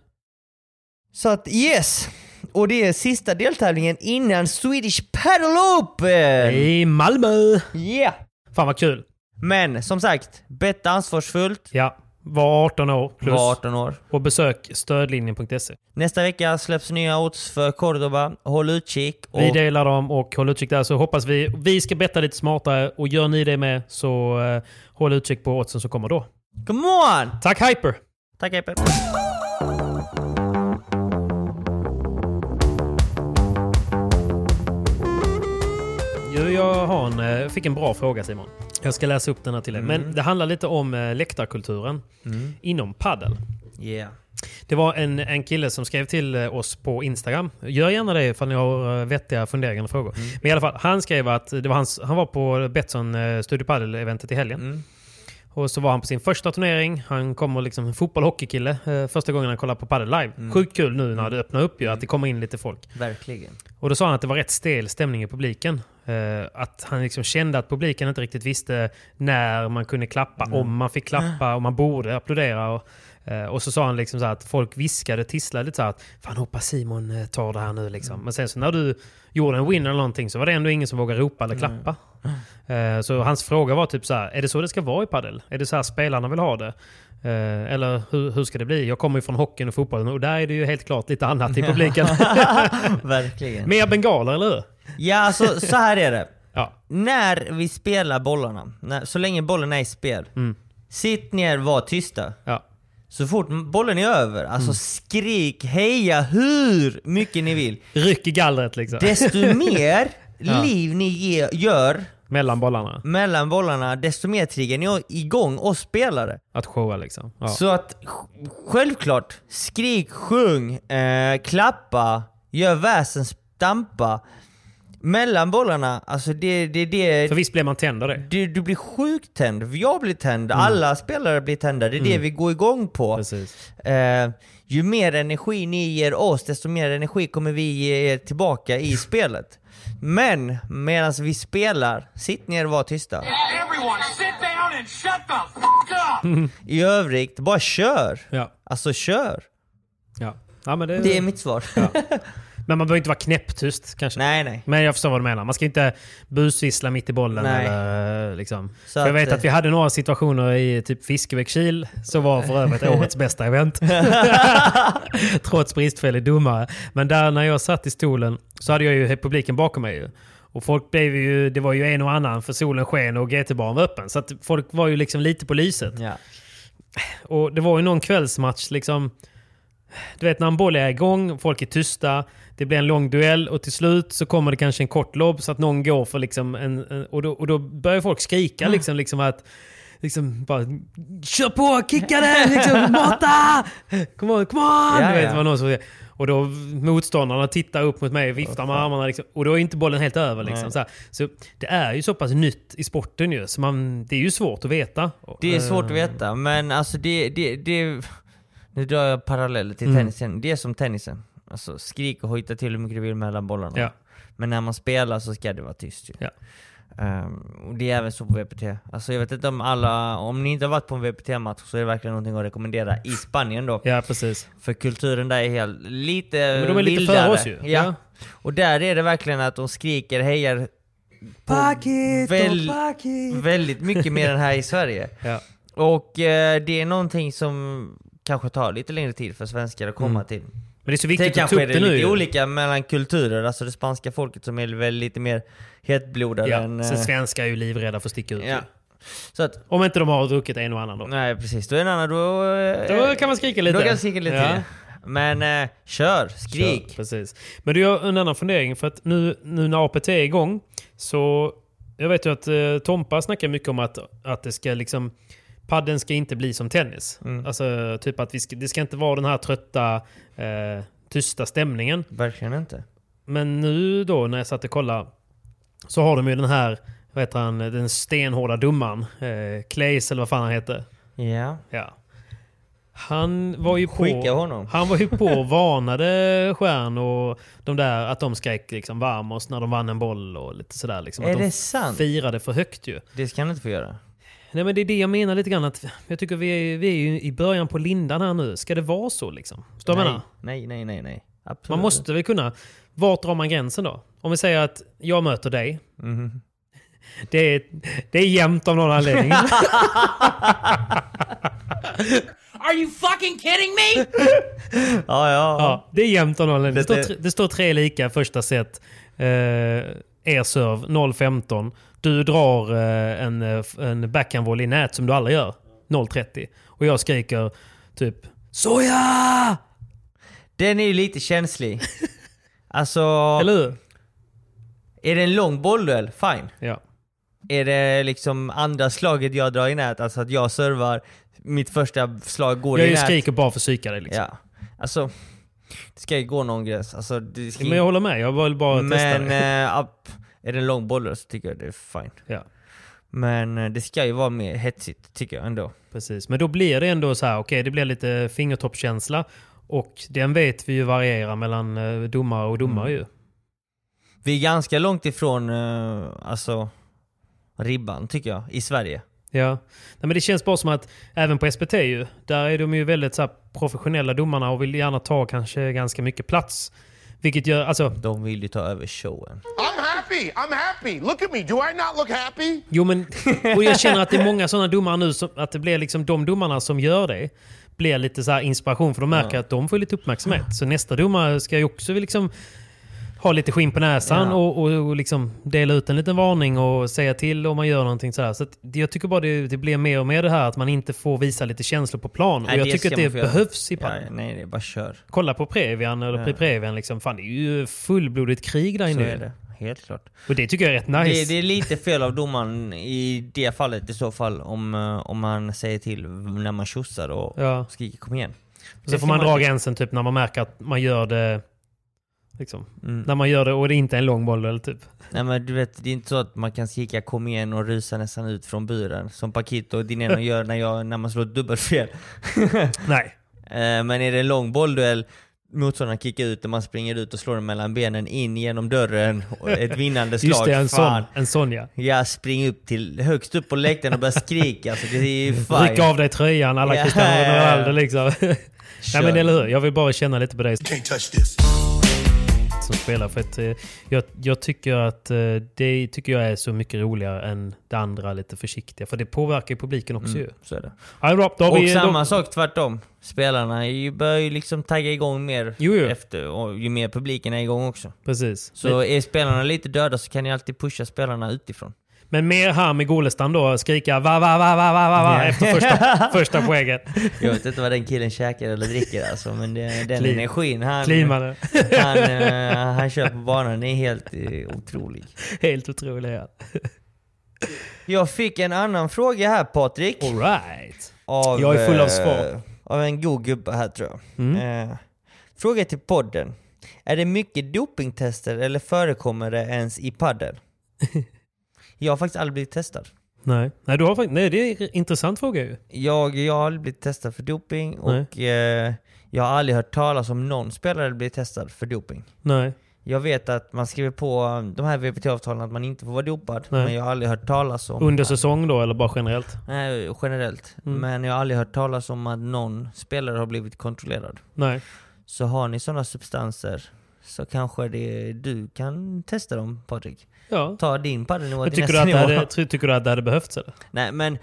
S4: Så att yes! Och det är sista deltävlingen innan Swedish Paddle Open!
S3: I Malmö!
S4: Yeah!
S3: Fan vad kul!
S4: Men som sagt, betta ansvarsfullt.
S3: Ja. Var 18 år plus.
S4: Var 18 år.
S3: Och besök stödlinjen.se.
S4: Nästa vecka släpps nya odds för Cordoba. Håll utkik. Och
S3: Vi delar dem och håll utkik där så hoppas vi. Vi ska betta lite smartare och gör ni det med så eh, håll utkik på oddsen som kommer då.
S4: come on!
S3: Tack Hyper!
S4: Tack Epe.
S3: Jo, jag har en, eh, fick en bra fråga Simon. Jag ska läsa upp den här till dig. Men det handlar lite om eh, läktarkulturen inom paddel.
S4: Yeah.
S3: Det var en, en kille som skrev till eh, oss på Instagram. Gör gärna det ifall ni har eh, vettiga funderingar och frågor. Men i alla fall, han skrev att det var hans, han var på Betsson eh, Studio Padel-eventet i helgen. Och så var han på sin första turnering. Han kommer liksom en fotboll och hockeykille. eh, Första gången han kollar på padel live. Sjukt kul nu när det öppnar upp ju, att det kommer in lite folk.
S4: Verkligen.
S3: Och då sa han att det var rätt stel stämning i publiken. Eh, att han liksom kände att publiken inte riktigt visste när man kunde klappa, om man fick klappa, om man borde applådera. Och, eh, och så sa han liksom så här att folk viskade och tisslade lite så här att Fan hoppas Simon eh, tar det här nu liksom. Men sen så när du gjorde en winner eller någonting så var det ändå ingen som vågade ropa eller klappa. Eh, så hans fråga var typ så här, är det så det ska vara i padel? Är det så här spelarna vill ha det? Eh, eller hur, hur ska det bli? Jag kommer ju från hockeyn och fotbollen och där är det ju helt klart lite annat i publiken.
S4: Verkligen.
S3: Mer bengaler, eller hur?
S4: Ja, alltså så här är det.
S3: Ja.
S4: När vi spelar bollarna, när, så länge bollen är i spel, sitt ner, var tysta.
S3: ja.
S4: Så fort bollen är över, alltså skrik, heja hur mycket ni vill.
S3: Ryck i gallret liksom.
S4: Desto mer liv ni ge, gör
S3: Mellan bollarna.
S4: mellan bollarna, desto mer triggar ni igång oss spelare.
S3: Att showa liksom. Ja.
S4: Så att sj- självklart, skrik, sjung, eh, klappa, gör väsen, stampa. Mellan bollarna, alltså det, det, det,
S3: För visst blir man tänd av det?
S4: du, du blir sjukt tänd. Jag blir tänd, alla spelare blir tända. Det är det vi går igång på.
S3: Mm. Precis.
S4: Eh, ju mer energi ni ger oss, desto mer energi kommer vi ge er tillbaka i spelet. Men medan vi spelar, sitt ner och var tysta.
S5: Everyone, sit down and shut the f up!
S4: I övrigt, bara kör!
S3: Ja.
S4: Alltså kör!
S3: ja. ja men, det,
S4: Det är mitt svar.
S3: men man behöver inte vara knäpptyst kanske.
S4: nej, nej.
S3: Men jag förstår vad du menar. Man ska inte busvissla mitt i bollen.
S4: Nej.
S3: Eller, eh, liksom.
S4: Så
S3: För jag
S4: att,
S3: vet
S4: eh,
S3: att vi hade några situationer i typ Fiskebäckskil som var för övrigt årets bästa event. Trots bristfällig domare. Men där när jag satt i stolen så hade jag ju publiken bakom mig. Ju. Och folk blev ju, det var ju en och annan för solen sken och GT-baren var öppen. Så att folk var ju liksom lite på lyset.
S4: Ja.
S3: Och det var ju någon kvällsmatch liksom. Du vet när en boll är igång, folk är tysta, det blir en lång duell och till slut så kommer det kanske en kort lobb så att någon går för liksom en... en och, då, och då börjar folk
S4: Mm.
S3: skrika liksom, liksom att... Liksom bara kör på, kicka den, liksom, mata! Kom on, kom on!
S4: Ja,
S3: du vet,
S4: ja.
S3: det var någon som, och då motståndarna tittar upp mot mig och viftar med armarna. Liksom, och då är inte bollen helt över. Liksom, så, här. så det är ju så pass nytt i sporten ju, så man, det är ju svårt att veta.
S4: Det är svårt
S3: Eh.
S4: att veta, men alltså det... det, det nu drar jag paralleller till
S3: Mm.
S4: tennisen. Det är som tennisen. Alltså skrik och hojta till hur mycket du vill mellan bollarna.
S3: Ja.
S4: Men när man spelar så ska det vara tyst ju.
S3: Ja.
S4: Ehm, och det är även så på VPT. Alltså jag vet inte om alla... Om ni inte har varit på en VPT-match så är det verkligen någonting att rekommendera i Spanien då.
S3: Ja, precis.
S4: För kulturen där är helt, lite
S3: Men de är lite
S4: vildare.
S3: före oss ju.
S4: Ja.
S3: Ja.
S4: Och där är det verkligen att de skriker, hejar Packet väl, väldigt mycket mer än här i Sverige.
S3: Ja.
S4: Och eh, det är någonting som kanske tar lite längre tid för svenskar att komma
S3: Mm.
S4: till.
S3: Men det är så viktigt att
S4: kanske
S3: ta
S4: är
S3: upp
S4: det
S3: det nu.
S4: lite olika mellan kulturer, alltså det spanska folket som är väl lite mer hetblodade
S3: Ja,
S4: än...
S3: sen
S4: eh,
S3: svenskar är ju livrädda för att sticka ut.
S4: ja. Så att,
S3: Om inte de har druckit en och annan då.
S4: nej precis, då är en annan, då... eh,
S3: Då kan man skrika lite.
S4: Då kan jag skrika lite.
S3: Ja.
S4: Men eh, kör, skrik.
S3: Kör, precis. Men du, jag har en annan fundering. För att nu, nu när APT är igång så... Jag vet ju att eh, Tompa snackar mycket om att, att det ska liksom... Padden ska inte bli som tennis.
S4: Mm.
S3: Alltså typ att vi ska, det ska inte vara den här trötta, eh, tysta stämningen.
S4: Verkligen inte.
S3: Men nu då när jag satt och kollade så har de ju den här, vad heter han, den stenhårda dumman. Eh, Clays eller vad fan han hette.
S4: Ja.
S3: Ja. Han var ju på,
S4: Skicka honom.
S3: Han var ju på och varnade Stjärn och de där att de skrek liksom varmos när de vann en boll och lite sådär. Liksom,
S4: Är
S3: att de
S4: det sant?
S3: firade för högt ju.
S4: Det ska han inte få göra.
S3: Nej men det är det jag menar lite grann att jag tycker vi är, vi är ju i början på lindan här nu. Ska det vara så liksom? Förstår du vad jag menar?
S4: nej. nej, nej, nej, nej. Absolut.
S3: Man måste väl kunna... Vart drar man gränsen då? Om vi säger att jag möter dig.
S4: Mhm.
S3: Det, är, det är jämnt av någon anledning.
S5: Are you fucking kidding me?
S4: Ja, ja.
S3: Ja, det är jämnt av någon anledning. Det
S4: Det-
S3: står, tre- det står tre lika första set. Eh, er serv 0-15. Du drar eh, en, eh, f- en backhandvolley i nät som du aldrig gör. 0-30. Och jag skriker typ Soja!
S4: Den är ju lite känslig. alltså,
S3: Eller hur?
S4: är det en lång bollduell, fine.
S3: Ja.
S4: Är det liksom andra slaget jag drar i nät, alltså att jag servar, mitt första slag går i
S3: Jag
S4: nät.
S3: skriker bara för att psyka dig. Liksom.
S4: Ja. Alltså, det ska ju gå någon gräns. Alltså, det ska...
S3: Men jag håller med. Jag vill bara testa
S4: Men,
S3: det.
S4: eh, upp. är det en lång bollduell så tycker jag det är fine.
S3: Ja.
S4: Men eh, det ska ju vara mer hetsigt, tycker jag ändå.
S3: Precis, men då blir det ändå så här, okej det blir lite fingertoppskänsla. Och den vet vi ju varierar mellan eh, domare och domare ju.
S4: Vi är ganska långt ifrån eh, alltså, ribban, tycker jag, i Sverige.
S3: Ja. Nej, men det känns bara som att även på SPT ju, där är de ju väldigt så här, professionella domarna och vill gärna ta kanske ganska mycket plats. Vilket gör, alltså,
S4: De vill ju ta över showen.
S6: I'm happy. I'm happy. Look at me. Do I not look happy?
S3: jo men, och jag känner att det är många sådana domare nu, som, att det blir liksom de domarna som gör det blir lite så här inspiration för de märker att de får lite uppmärksamhet. Så nästa domare ska ju också liksom ha lite skinn på näsan
S4: Ja.
S3: och, och, och liksom dela ut en liten varning och säga till om man gör någonting sådär. Så att det- jag tycker bara det, det blir mer och mer det här att man inte får visa lite känslor på plan.
S4: Nej,
S3: och jag
S4: det
S3: tycker
S4: ska
S3: att det
S4: man få göra.
S3: behövs i
S4: Ja,
S3: padel.
S4: nej, det är bara kör.
S3: Kolla på Previan eller Pri Previan liksom. Fan det är ju fullblodigt krig där
S4: Så
S3: inne.
S4: är det. Helt klart.
S3: Och det tycker jag är rätt nice.
S4: Det, det är lite fel av domaren i det fallet i så fall om, eh, om man säger till när man tjosar och
S3: Ja.
S4: skriker kom igen.
S3: Och så får man dra gränsen typ när man märker att man gör det... Liksom.
S4: Mm.
S3: När man gör det och det inte är en lång boll eller typ.
S4: Nej men du vet, det är inte så att man kan skrika kom igen och rusa nästan ut från buren som Paquito och Dineno gör när, jag, när man slår ett dubbelfel.
S3: Nej.
S4: Eh, Men är det en lång bollduell, motståndaren kickar ut och man springer ut och slår den mellan benen in genom dörren. Och Ett vinnande slag.
S3: Just det, en sån,
S4: fan.
S3: en sån ja.
S4: Ja, spring upp till, högst upp på läktaren och börja skrika. Alltså, det är ju
S3: Ryck
S4: fine.
S3: av dig tröjan, alla
S4: Ja.
S3: Cristiano Ronaldo liksom. Nej men
S4: Kör.
S3: eller hur, jag vill bara känna lite på dig
S6: Can't touch this.
S3: som spelar. För att, eh, jag, jag tycker att eh, det tycker jag är så mycket roligare än det andra lite försiktiga. För det påverkar ju publiken också ju.
S4: Så är det.
S3: Ja, det är bra. Då har
S4: Mm. Och
S3: vi,
S4: samma
S3: då,
S4: sak tvärtom. Spelarna är ju- börjar ju liksom tagga igång mer
S3: Jo, jo.
S4: efter och ju mer publiken är igång också.
S3: Precis.
S4: Så är spelarna lite döda så kan ni alltid pusha spelarna utifrån.
S3: Men mer här med Golestam då, skrika va va va va va va va
S4: Ja.
S3: efter första, första poängen.
S4: Jag vet inte vad den killen käkar eller dricker alltså, men det, den
S3: Klim-
S4: energin han,
S3: Klimade.
S4: han, eh, han kör på banan är helt eh, otrolig.
S3: Helt otroligt. ja.
S4: Jag fick en annan fråga här Patrik.
S3: All right.
S4: Av,
S3: Jag är full av
S4: eh,
S3: svar. Mm.
S4: Av en god gubbe här tror jag. Eh, fråga till podden. Är det mycket dopingtester eller förekommer det ens i padel? jag har faktiskt aldrig blivit testad.
S3: Nej, nej, du har, fakt- nej det är en intressant fråga ju.
S4: Jag, jag har aldrig blivit testad för doping och eh, jag har aldrig hört talas om någon spelare bli testad för doping.
S3: Nej.
S4: Jag vet att man skriver på eh, de här VPT-avtalen att man inte får vara dopad,
S3: Nej.
S4: men jag har aldrig hört talas om...
S3: Under Mm. säsong då eller bara generellt?
S4: Nej, generellt. Men jag har aldrig hört talas om att någon spelare har blivit kontrollerad.
S3: Nej.
S4: Så har ni sådana substanser så kanske det, du kan testa dem Patrik.
S3: Ja.
S4: Ta din paddelnivå
S3: Men
S4: till
S3: tycker, du
S4: nästa
S3: att det
S4: nivå.
S3: hade, ty- tycker du att det hade behövts eller?
S4: Nej men,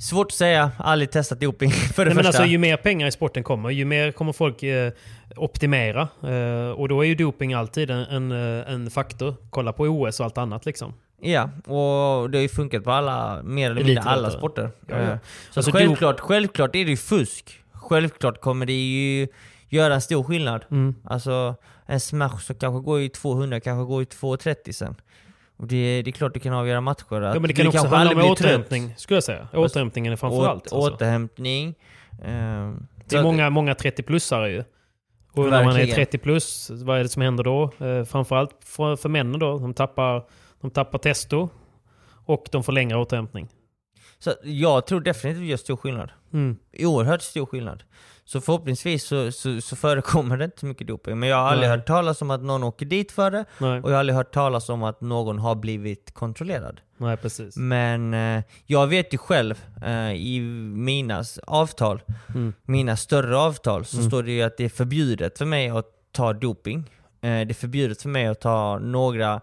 S4: svårt att säga. Aldrig testat doping för det
S3: Nej, men
S4: första.
S3: alltså, ju mer pengar i sporten kommer, ju mer kommer folk eh, optimera. Eh, och då är ju doping alltid en, en, eh, en faktor. Kolla på OS och allt annat liksom.
S4: Ja, och det har ju funkat på alla, mer eller mindre
S3: Elitidrottare.
S4: alla sporter.
S3: Ja, ja.
S4: Eh, Så
S3: Alltså,
S4: självklart, självklart är det ju fusk. Självklart kommer det ju göra en stor skillnad.
S3: Mm.
S4: Alltså en smash som kanske går i 200, kanske går i 230 sen. Och det, det är klart du kan avgöra matcher.
S3: Ja,
S4: att
S3: men det
S4: du
S3: kan också
S4: kanske
S3: handla
S4: aldrig
S3: om
S4: blir trött.
S3: återhämtning, skulle jag säga. Återhämtningen är framför
S4: Åt-
S3: allt. Alltså.
S4: Återhämtning. ehm,
S3: Det
S4: så
S3: är
S4: att-
S3: många, många 30-plussare ju. Och när man är
S4: Verkligen.
S3: 30 plus, vad är det som händer då? Eh, framförallt för, för männen då. De tappar, de tappar testo och de får längre återhämtning.
S4: Så jag tror definitivt det gör stor skillnad.
S3: Mm.
S4: Oerhört stor skillnad. Så förhoppningsvis så, så, så förekommer det inte så mycket doping. Men jag har aldrig
S3: Nej.
S4: hört talas om att någon åker dit för det.
S3: Nej.
S4: Och jag har aldrig hört talas om att någon har blivit kontrollerad.
S3: Nej, precis.
S4: Men eh, jag vet ju själv eh, i mina s- avtal,
S3: Mm.
S4: mina större avtal, så
S3: Mm.
S4: står det ju att det är förbjudet för mig att ta doping. Eh, det är förbjudet för mig att ta några,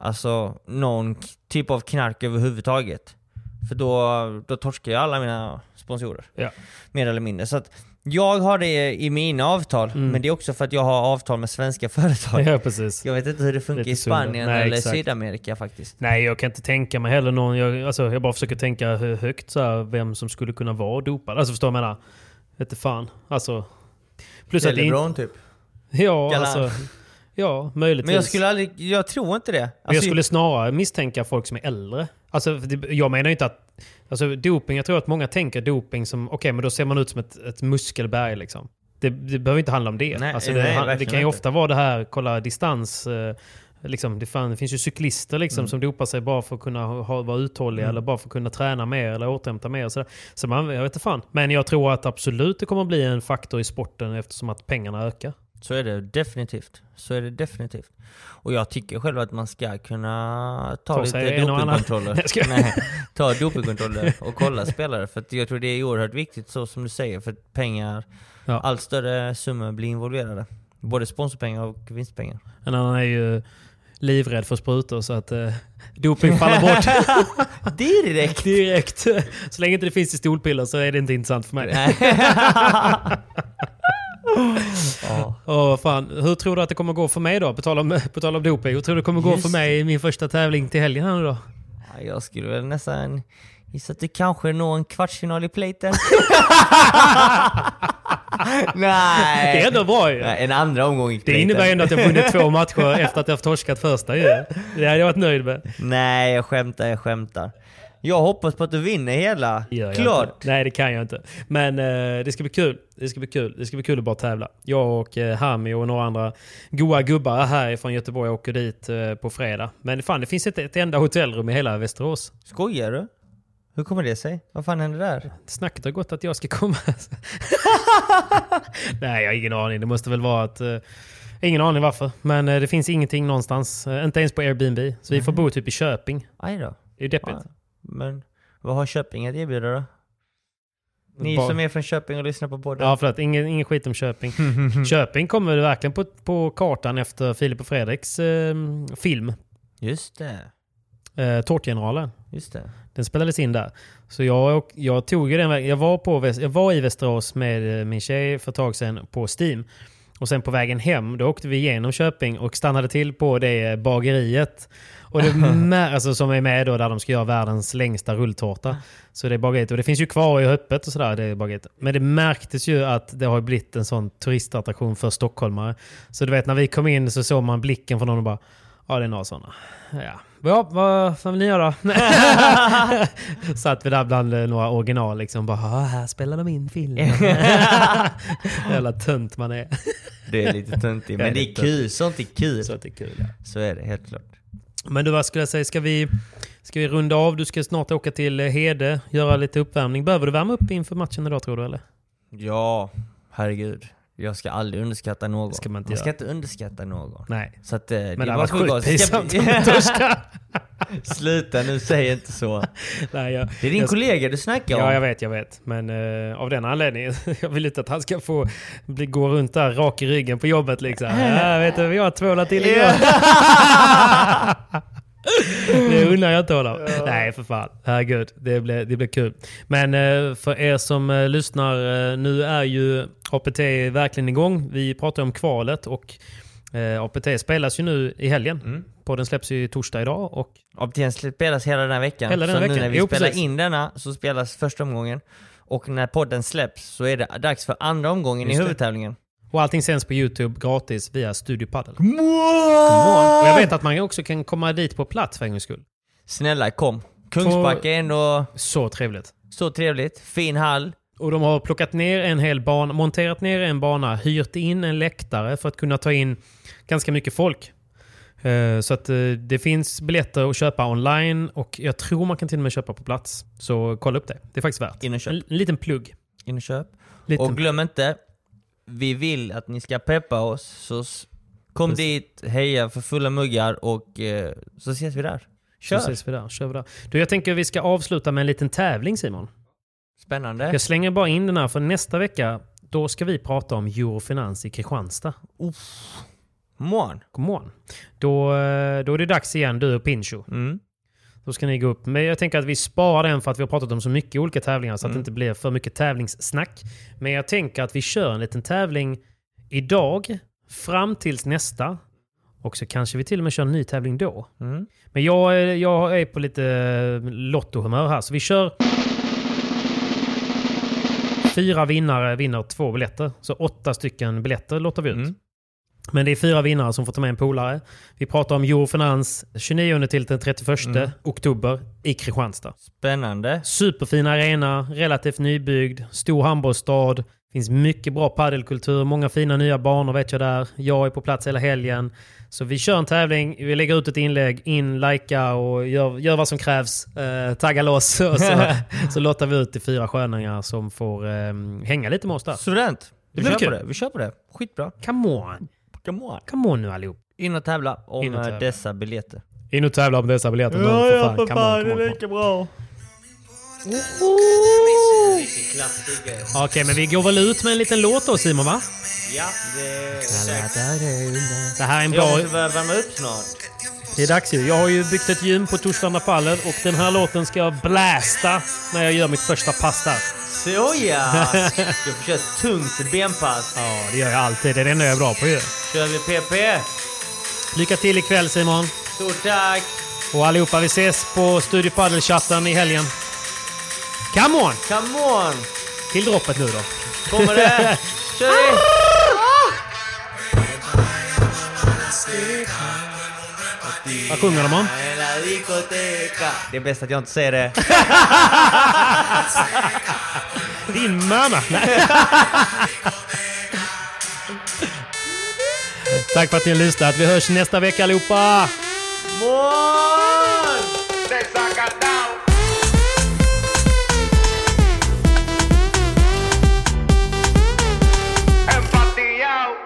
S4: alltså någon k- typ av knark överhuvudtaget. För då, då torskar jag alla mina sponsorer.
S3: Ja.
S4: Mer eller mindre. Så att jag har det i mina avtal, men det är också för att jag har avtal med svenska företag.
S3: Mm. Ja, precis.
S4: Jag vet inte hur det funkar
S3: Lite
S4: i Spanien
S3: sunda. Nej,
S4: eller
S3: exakt.
S4: Sydamerika faktiskt.
S3: Nej, jag kan inte tänka mig heller någon. Jag, alltså, jag bara försöker tänka hö- högt så här, vem som skulle kunna vara dopad. Alltså förstår du vad jag menar? Vete fan. Alltså. Plus att det inte...
S4: LeBron typ.
S3: Ja,
S4: Galan.
S3: alltså. Ja, möjligtvis.
S4: Men jag skulle aldrig, jag tror inte det.
S3: Men jag
S4: Alltså,
S3: skulle snarare misstänka folk som är äldre. Alltså, för det- jag menar ju inte att... Alltså, doping, jag tror att många tänker doping som... Okej, men då ser man ut som ett, ett muskelberg liksom. Det, det behöver inte handla om det.
S4: Nej,
S3: alltså,
S4: nej,
S3: det, han- det
S4: verkligen
S3: kan ju
S4: inte.
S3: ofta vara det här, kolla distans. Eh, liksom, det, fan, det finns ju cyklister liksom,
S4: Mm.
S3: som dopar sig bara för att kunna ha, ha- vara uthålliga eller bara för att kunna träna mer eller återhämta mer. och Så, så man, jag vet inte fan. Men jag tror att absolut det kommer bli en faktor i sporten eftersom att pengarna ökar.
S4: Så är det definitivt. Så är det definitivt. Och jag tycker själv att man ska kunna ta,
S3: Ta sig
S4: lite
S3: en och annan.
S4: dopingkontroller.
S3: Nej, jag skojar.
S4: Nej, ta dopingkontroller och kolla spelare. För att jag tror det är oerhört viktigt så som du säger. För att pengar,
S3: Ja.
S4: allt större summor blir involverade. Både sponsorpengar och vinstpengar.
S3: En annan är ju livrädd för sprutor så att eh, doping faller bort.
S4: Direkt!
S3: Direkt. Så länge inte det finns i stolpiller så är det inte intressant för mig.
S4: Nej.
S3: Åh, fan. Hur tror du att det kommer gå för mig då? På tal om, på tal om doping. Hur tror du det kommer gå
S4: Just
S3: för mig i min första tävling till helgen här nu då?
S4: Ja, Jag skulle väl nästan gissa att du kanske når en kvartsfinal i platen. Nej!
S3: Det är ändå bra ju.
S4: Nej, en andra omgång gick
S3: Det
S4: platen.
S3: innebär ju ändå att jag vunnit två matcher efter att jag torskat första ju. Det hade jag varit nöjd med.
S4: Nej, jag skämtar, jag skämtar. Jag hoppas på att du vinner hela.
S3: Det gör jag
S4: Klart!
S3: inte. Nej, det kan jag inte. Men eh, det ska bli kul. Det ska bli kul. Det ska bli kul att bara tävla. Jag och eh, Hami och några andra goa gubbar här från Göteborg åker dit eh, på fredag. Men fan, det finns inte ett enda hotellrum i hela Västerås.
S4: Skojar du? Hur kommer det sig? Vad fan hände där?
S3: Snacket har gått att jag ska komma. Nej, jag har ingen aning. Det måste väl vara att... eh, ingen aning varför. Men eh, det finns ingenting någonstans. Eh, inte ens på Airbnb. Så vi får bo typ i Köping.
S4: Aj då.
S3: Det är ju deppigt.
S4: Mm. Ja. Men vad har Köping att erbjuda då? Ni
S3: Bara-
S4: som är från Köping och lyssnar på podden.
S3: Ja, förlåt. Ingen, ingen skit om Köping. Köping kommer verkligen på, på kartan efter Filip och Fredriks eh, film.
S4: Just det.
S3: Eh, Tårtgeneralen.
S4: Just det.
S3: Den spelades in där. Så jag, åk- jag tog ju den vägen. Jag var, på, Väs- jag var i Västerås med eh, min tjej för ett tag sedan på Steam. Och sen på vägen hem, då åkte vi igenom Köping och stannade till på det eh, bageriet. Och det med, alltså, som är med då där de ska göra världens längsta rulltårta. Så det är bageriet. Och det finns ju kvar och är öppet och sådär. Det är bageriet. Men det märktes ju att det har blivit en sån turistattraktion för stockholmare. Så du vet, när vi kom in så såg man blicken från någon och bara Ja, det är några sådana. Ja. Ja, vad fan vill ni göra? Satt vi där bland eh, några original liksom. Bara, "Ah, här spelar de in filmen. Jävla tönt man är.
S4: Det är lite töntigt, men det är kul. Sånt är kul.
S3: Så att det är kul. Ja.
S4: Så är det, helt klart.
S3: Men du, vad skulle jag säga? Ska vi, ska vi runda av? Du ska snart åka till eh, Hede, göra lite uppvärmning. Behöver du värma upp inför matchen idag tror du? Eller?
S4: Ja, herregud. Jag ska aldrig underskatta någon.
S3: ska man inte
S4: man ska
S3: göra.
S4: inte underskatta någon.
S3: Nej.
S4: Så att, eh, det
S3: Men det
S4: var
S3: hade varit sjukt
S4: sjukt. Det ska-
S3: pinsamt om man torskar.
S4: Sluta nu, säg inte så.
S3: Nej, jag,
S4: det är din
S3: jag-
S4: kollega du snackar om.
S3: Ja, jag vet, jag vet. Men eh, av den anledningen, jag vill inte att han ska få bli, gå runt där rak i ryggen på jobbet liksom. Ja, vet du, jag har tvålat till igår. Det undrar jag inte honom. Nej, för fan. Herregud, det blir, det blir kul. Men eh, för er som eh, lyssnar, eh, nu är ju APT verkligen igång. Vi pratar om kvalet och eh, APT spelas ju nu i helgen.
S4: Mm.
S3: Podden släpps ju torsdag idag och
S4: APTN spelas hela den här veckan.
S3: Hela den
S4: så
S3: här
S4: nu
S3: veckan.
S4: när vi
S3: Jo,
S4: spelar
S3: precis.
S4: in denna så spelas första omgången. Och när podden släpps så är det dags för andra omgången
S3: Just
S4: i
S3: det.
S4: huvudtävlingen.
S3: Och allting sänds på Youtube gratis via Studio Paddle. Och jag vet att man också kan komma dit på plats för en gångs skull.
S4: Snälla kom. Kungsbacka är ändå
S3: Så trevligt.
S4: så trevligt. Fin hall.
S3: Och de har plockat ner en hel bana, monterat ner en bana, hyrt in en läktare för att kunna ta in ganska mycket folk. Eh, Så att eh, det finns biljetter att köpa online och jag tror man kan till och med köpa på plats. Så kolla upp det. Det är faktiskt värt.
S4: In och köp.
S3: En en liten plugg.
S4: In och köp.
S3: Liten.
S4: Och glöm inte, vi vill att ni ska peppa oss. Så s- kom
S3: Precis.
S4: dit, heja för fulla muggar och eh, så ses vi där.
S3: Kör.
S4: Kör!
S3: Så ses vi där. Kör vi där. Du, jag tänker vi ska avsluta med en liten tävling Simon.
S4: Spännande.
S3: Jag slänger bara in den här för nästa vecka då ska vi prata om Eurofinans i Kristianstad.
S4: Morgon.
S3: God morgon. Då, eh, då är det dags igen du och Pincho.
S4: Mm.
S3: Då ska ni gå upp. Men jag tänker att vi sparar den för att vi har pratat om så mycket olika tävlingar
S4: Mm.
S3: så att det inte blir för mycket tävlingssnack. Men jag tänker att vi kör en liten tävling idag fram tills nästa. Och så kanske vi till och med kör en ny tävling då.
S4: Mm.
S3: Men jag, är- jag är på lite eh, lottohumör här, så vi kör... Fyra vinnare vinner två biljetter. Så åtta stycken biljetter lottar vi ut.
S4: Mm.
S3: Men det är fyra vinnare som får ta med en polare. Vi pratar om Eurofinans 29 till den 31
S4: Mm.
S3: oktober i Kristianstad.
S4: Spännande.
S3: Superfin arena, relativt nybyggd, stor handbollsstad. Finns mycket bra paddelkultur, många fina nya banor vet jag där. Jag är på plats hela helgen. Så vi kör en tävling, vi lägger ut ett inlägg, in, likea och gör, gör vad som krävs. Eh, tagga loss och så, så lottar vi ut de fyra sköningar som får eh, hänga lite med oss där.
S4: Suveränt.
S3: Det
S4: Vi
S3: blir
S4: kör
S3: kul.
S4: på det. Vi kör på det. Skitbra.
S3: Come on,
S4: Come on.
S3: come on nu allihop.
S4: In och tävla om eh,
S3: In och tävla.
S4: dessa biljetter.
S3: In och tävla om dessa biljetter nu
S4: bra.
S3: Okej, men vi går väl ut med en liten låt då Simon va?
S4: Ja, det
S3: Det här är en
S4: Jag
S3: bra...
S4: måste börja värma upp snart.
S3: Det är dags ju. Jag har ju byggt ett gym på Torslanda Pallen och den här låten ska jag blästa när jag gör mitt första pass där.
S4: Så oh ja! Du får köra ett tungt benpass.
S3: Ja, det gör jag alltid. Det är det enda jag är bra på ju.
S4: Kör vi PP.
S3: Lycka till ikväll Simon!
S4: Stort tack!
S3: Och allihopa, vi ses på Studio Padel-chatten i helgen. Come on!
S4: Come on!
S3: Till droppet nu då.
S4: Kommer det? Kör vi!
S3: Vad sjunger de om?
S4: Det är bäst att jag inte säger det.
S3: Din mamma! Nej. Tack för att ni har lyssnat. Vi hörs nästa vecka allihopa!
S4: Mål!
S8: Desacatado. Empatillao.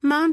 S5: Mom